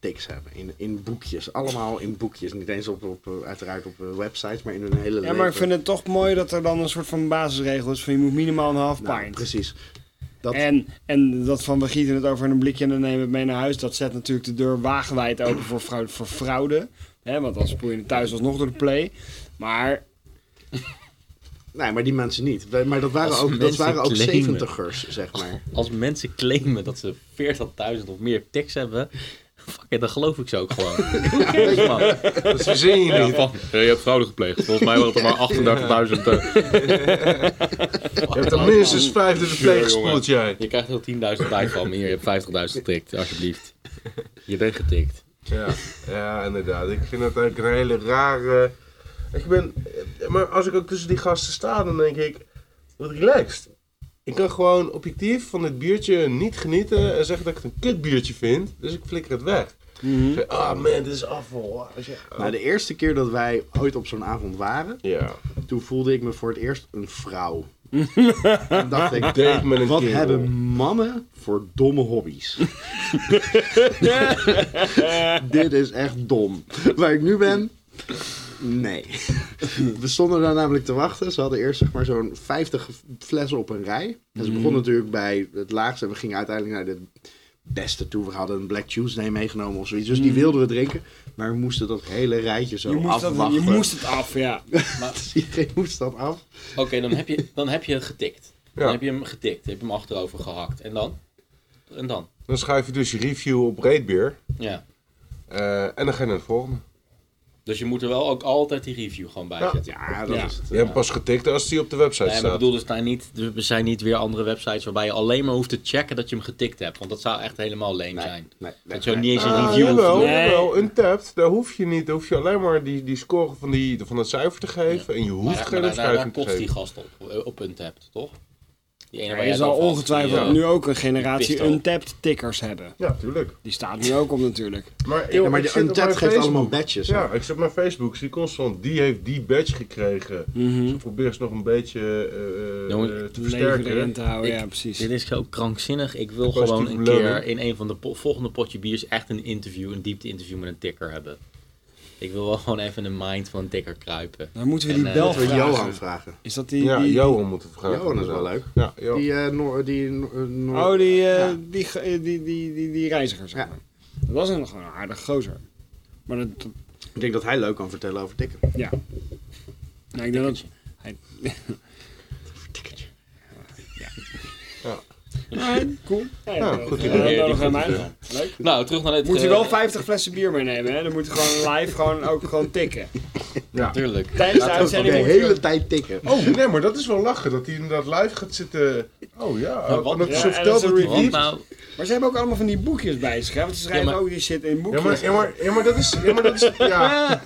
tiks hebben in, in boekjes. Allemaal in boekjes. Niet eens op, op, eh, uiteraard op eh, websites, maar in hun hele leven.
Ja, maar ik vind het toch mooi dat er dan een soort van basisregel is van je moet minimaal een half
Nou,
pint.
Precies. Dat,
En, en dat van we gieten het over in een blikje en dan nemen we het mee naar huis. Dat zet natuurlijk de deur wagenwijd open voor fraude. Voor fraude hè, want dan spoel je het thuis alsnog door de play. Maar
Nee, maar die mensen niet. Wij- Maar dat waren
Als
ook, dat
mensen
waren ook
claimen.
zeventigers, zeg maar.
Als mensen claimen dat ze 40.000 of meer tics hebben, fuck it, dan geloof ik ze ook gewoon. Who cares, man?
Dat verzin je
Ja,
niet.
van, eh, je hebt fraude gepleegd. Volgens mij waren het er maar 38.000. eh.
Je hebt er minstens vijf door de pleeg gespoeld, jij.
Je krijgt er 10.000 bij van. Hier, je hebt 50.000 getikt, alsjeblieft. Je bent getikt.
Ja, ja, inderdaad. Ik vind het eigenlijk een hele rare... Ik ben... Maar als ik ook tussen die gasten sta, dan denk ik... Wat relaxed. Ik kan gewoon objectief van dit biertje niet genieten en zeggen dat ik het een kut biertje vind. Dus ik flikker het weg. Ik zeg, Ah man, dit is afval. Ah, shit.
Oh.
Nou, de eerste keer dat wij ooit op zo'n avond waren,
Ja.
toen voelde ik me voor het eerst een vrouw. Toen dacht ik,
Date met een
wat
kerel.
hebben mannen voor domme hobby's? Dit is echt dom. Waar ik nu ben, nee. We stonden daar namelijk te wachten. Ze hadden eerst zeg maar zo'n 50 flessen op een rij. En ze
Mhm.
begonnen natuurlijk bij het laagste. En we gingen uiteindelijk naar de beste toe. We hadden een Black Tuesday meegenomen of zoiets. Dus die wilden we drinken. Maar we moesten dat hele rijtje zo
Mhm. je moest, dat, je
afwachten.
moest het af, ja.
Iedereen moest dat af.
Oké, dan, heb je- dan heb je getikt. Dan
Ja.
heb je hem getikt. Heb je hem achterover gehakt. En dan? En dan?
Dan schrijf je dus je review op Reedbeer.
Ja.
eh, en dan ga je naar de volgende.
Dus je moet er wel ook altijd die review gewoon bij
Ja. eh,
zetten.
Ja, dat
Ja.
is het.
Je hebt pas getikt als die op de website
Nee, maar
staat.
ik bedoel, dus nou niet, er zijn niet weer andere websites waarbij je alleen maar hoeft te checken dat je hem getikt hebt. Want dat zou echt helemaal leem zijn.
Nee, nee,
Dat je ook
nee.
niet eens een
Ah,
review hoeft te
jawel,
doen.
Nee.
jawel, untapped, daar hoef je niet. Daar hoef je alleen maar die, die score van, die, van dat cijfer te geven. En je
Maar
hoeft
daar- maar
geen
daar, daar,
omschrijving te
kotst die
geven.
gast op, eh, op punt hebt, toch? Die ene
Maar
jij
je zal
het over had.
ongetwijfeld
Ja.
nu ook een generatie
Pistool.
untapped tikkers hebben.
Ja, tuurlijk.
Die staat nu ook op natuurlijk.
Maar,
Ja,
joh,
maar
ik
de
zit op mijn
Untapped geeft
Facebook.
allemaal badges. hè?
Ja, ik zit op mijn Facebook, zie constant, die heeft die badge gekregen. Ze probeert ze nog een beetje eh, eh,
Jongen,
te
Leven erin
versterken.
te houden,
Ik-
ja precies.
Dit is zo krankzinnig. Ik wil
Positieve
gewoon een
beloning.
keer in een van de po- volgende potje biers echt een interview, een diepte interview met een tikker hebben. Ik wil wel gewoon even in de mind van een tikker kruipen.
Dan moeten we
En,
die
eh,
bel
Dat we
vragen.
Johan vragen.
Is dat die...
Ja,
die-
Johan moet het vragen.
Johan is wel
inderdaad.
leuk.
Ja, Johan.
Die, eh Noor, die, Noor- eh, Noor-
Oh, die, eh,
Ja.
die, ge- eh, die, die, die, die reiziger, zeg
Ja.
maar. Dat was een, gewoon een aardige gozer. Maar dat... dat-
Ik denk dat hij leuk kan vertellen over tikken.
ja. Nou, ik denk dat... Hij, ja.
Ja.
Nee, cool. Nee,
Ja,
dat-
goed
eh,
idee.
dat
Ja,
nodigen
die
wij hem
goed
uit. Leuk.
Nou, terug naar dit.
Moet hij
eh,
wel 50 flessen bier meenemen, hè? Dan moet hij gewoon live gewoon, ook gewoon tikken.
Natuurlijk.
Tijdens de
Laat hem de
uitzending moet hij
hele
ook-
tijd tikken.
Oh, nee, maar dat is wel lachen, dat hij inderdaad live gaat zitten... Oh ja,
Maar wat-
en dat
Ja,
ze
en
vertelt
dat is
dat
een
hij
Want
die...
nou,
Maar ze hebben ook allemaal van die boekjes bij zich, hè? Want ze schrijven
Ja, maar-
ook die shit in
Ja
boekjes.
maar, ja, maar, ja, maar dat is... Ja, maar dat is ja.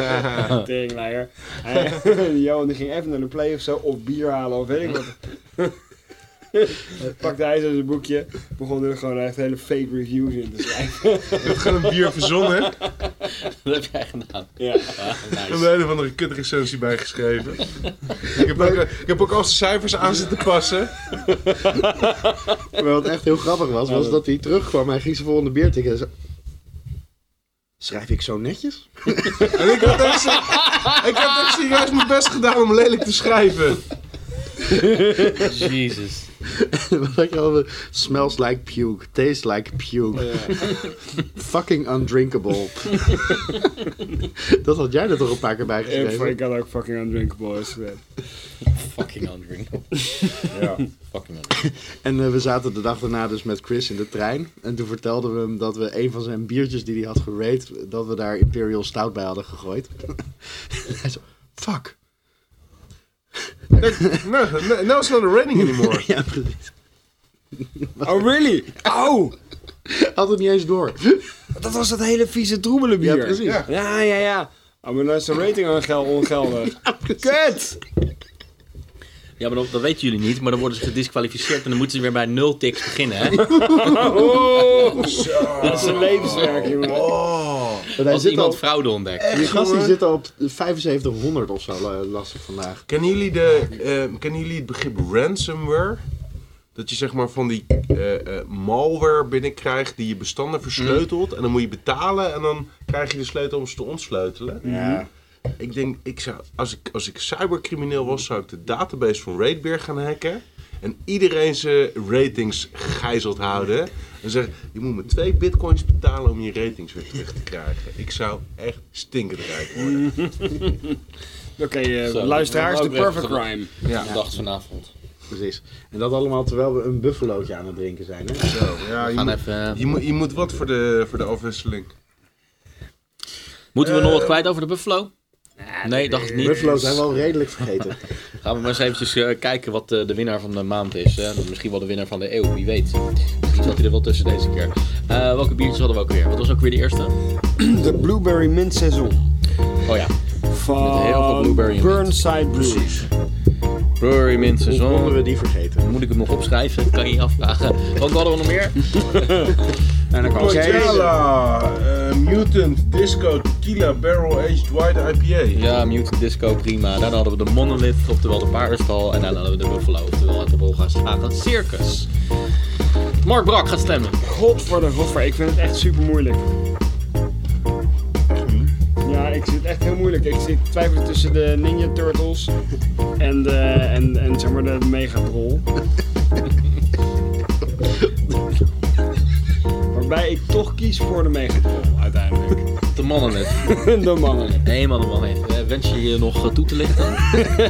Teringleier. Eh, Johan die ging even naar de play of zo, of bier halen of weet ik wat. pakte hij zo zijn boekje. Begon er gewoon echt hele fake reviews in te schrijven.
We gaan een bier verzonnen
Dat heb jij gedaan.
Ja.
Oh,
en
nou,
een of andere kut recensie bijgeschreven. ik, heb ook, eh, ik heb ook al zijn cijfers aan zitten passen.
Maar wat echt heel grappig was, was dat hij terugkwam. Hij ging zijn volgende bier tikken. en zo- Schrijf ik zo netjes?
En ik had echt, se- ik had echt serieus mijn best gedaan om lelijk te schrijven.
Jezus.
Wat ik al- Smells like puke, tastes like puke. Fucking undrinkable. dat had jij er toch een paar keer bij
En
geschreven?
ik had ook fucking undrinkable instrumenten.
Fucking undrinkable.
Ja.
Fucking undrinkable.
En eh, we zaten de dag daarna dus met Chris in de trein. En toen vertelden we hem dat we een van zijn biertjes die hij had gerate, dat we daar Imperial Stout bij hadden gegooid. hij zo, fuck.
No, no, no, it's not a running anymore.
Ja, precies.
Oh, really? Au!
Had het niet eens door.
Dat was dat hele vieze troebele bier.
Ja, precies.
Ja, ja, ja. Oh, maar nou is de rating ongel- ongeldig. Kut!
Ja, maar dat, dat weten jullie niet, maar dan worden ze gedisqualificeerd en dan moeten ze weer bij nul tiks beginnen, hè?
Oh, dat is een levenswerk, jongen.
Oh.
Want hij
Als
zit
iemand
al,
fraude ontdekt.
die gast die
jongen.
zit al op 7500 of zo, la- las ik vandaag.
Kennen jullie, de, eh, kennen jullie het begrip ransomware? Dat je zeg maar van die eh, eh, malware binnenkrijgt die je bestanden versleutelt. En dan moet je betalen en dan krijg je de sleutel om ze te ontsleutelen.
Ja.
Ik denk, ik zou, als, ik, als ik cybercrimineel was, zou ik de database van Raidbeer gaan hacken. En iedereen zijn ratings gijzeld houden. En zeggen, je moet me twee bitcoins betalen om je ratings weer terug te krijgen. Ik zou echt stinkend rijk worden.
Oké, eh,
Zo,
luisteraars,
dat
de
is wel ook
perfect
weer
crime.
Ja. Dag vanavond.
Precies. En dat allemaal terwijl we een buffalootje aan het drinken zijn. Hè?
Zo, ja,
We
je,
gaan
moet,
even... eh,
je, moet, je moet wat voor de, voor de afwisseling.
Moeten we nog wat kwijt over de Buffalo? Nee, dacht ik niet.
Buffalo zijn we al redelijk vergeten.
Gaan we maar eens eventjes eh, kijken wat eh, de winnaar van de maand is. Hè? Misschien wel de winnaar van de eeuw, wie weet. Misschien zat hij er wel tussen deze keer. Eh, welke biertjes hadden we ook weer? Wat was ook weer de eerste?
De Blueberry Mint Saison.
Oh ja,
Van
Met heel veel blueberry in
Burnside Brewery.
Brewery Mint
Hoe konden
Saison.
we die vergeten?
Moet ik hem nog opschrijven? Kan je je afvragen. Wat hadden we nog meer?
En dan kwam Kees.
Coachella, eh, Mutant, Disco, Tequila, Barrel Aged White IPA.
Ja, Mutant Disco, prima. Daarna hadden we de Monolith, oftewel de paardenstal. En daarna hadden we de Buffalo, oftewel het de Bolga's Schagen Circus. Mark Brak gaat stemmen.
God voor de godver, ik vind het echt super moeilijk. Ja, ik zit echt heel moeilijk. Ik zit twijfelen tussen de Ninja Turtles en, de, en, en zeg maar de Megatrol. Waarbij ik toch kies voor de Megatrol uiteindelijk.
De Monolith.
de mannen.
Helemaal de Monolith. Eh, wens je je nog eh, toe te lichten?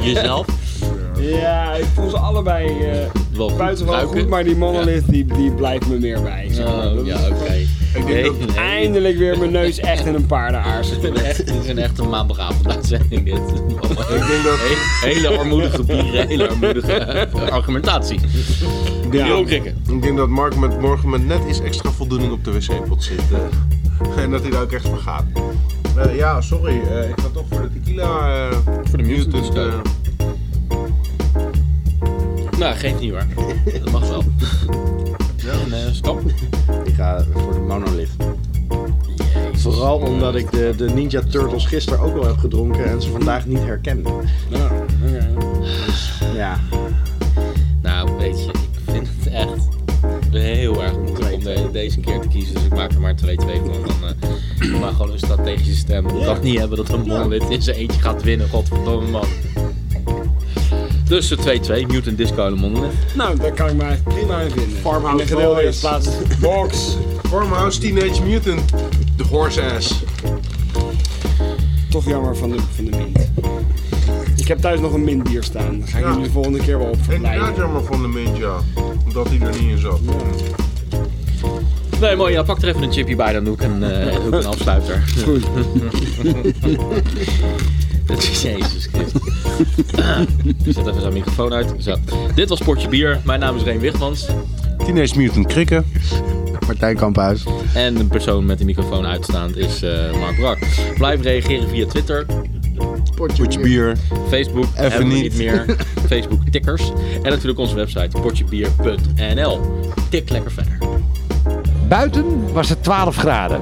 Jezelf?
Ja, ik voel ze allebei eh
Wel goed.
buitengewoon
Ruiken.
goed, maar die mannenlid die, die blijft me meer bij. zeg maar.
Oh,
Dat
ja,
is
oké. Ik
denk dat-
Eindelijk weer mijn neus echt in een paardenaars.
Echt, het is een echte maandagavond uitzending dit.
Ik denk dat
He- hele armoedige bieren, hele armoedige eh, argumentatie.
Ja.
krikken.
Ik denk dat Mark met morgen met net iets extra voldoening op de wc-pot zit. eh. en dat hij daar ook echt van gaat. Eh, ja, sorry. eh, ik ga toch voor de tequila. eh,
Voor de muziek dus.
Mutant. eh,
Nou, geeft niet waar. Dat mag wel. En eh, stap.
Ik ga voor de monolith. Vooral omdat ik de, de Ninja Turtles gisteren ook al heb gedronken en ze vandaag niet herkende.
Nou, oké.
Ja,
Nou, weet je, ik vind het echt heel erg moeilijk om de- deze keer te kiezen. Dus ik maak er maar 2-2 van. Dan, eh, maar gewoon een strategische stem. Ik kan niet hebben dat een monolith in zijn eentje gaat winnen. Godverdomme man. Dus de 2-2, Mutant Disco en de monolith.
Nou, daar kan ik me eigenlijk prima in vinden.
Farmhouse
in de gedeelde
Boys.
plaats box.
Farmhouse Teenage Mutant. De horse ass.
Toch jammer van de, van de mint. Ik heb thuis nog een mintbier staan. Daar ga ik
Ja.
jullie de volgende keer wel op
Ik raad
verblijden.
jammer van de mint, ja. Omdat hij er niet in zat.
Nee, mooi. Ja, pak er even een chipje bij. Dan doe ik een, eh, doe ik een afsluiter.
Goed.
Dat is Jezus Christus. Ik Zet even zijn microfoon uit. Zo. Dit was Portje Bier. Mijn naam is Reen Wichmans.
Teenage Mutant Krikken.
Martijn Kamphuis.
En de persoon met de microfoon uitstaand is eh, Mark Brak. Blijf reageren via Twitter.
Potje
Potje bier.
Facebook,
Even
hebben we
niet.
niet meer. Facebook tikkers. En natuurlijk onze website potjebier.nl. Tik lekker verder.
Buiten was het 12 graden.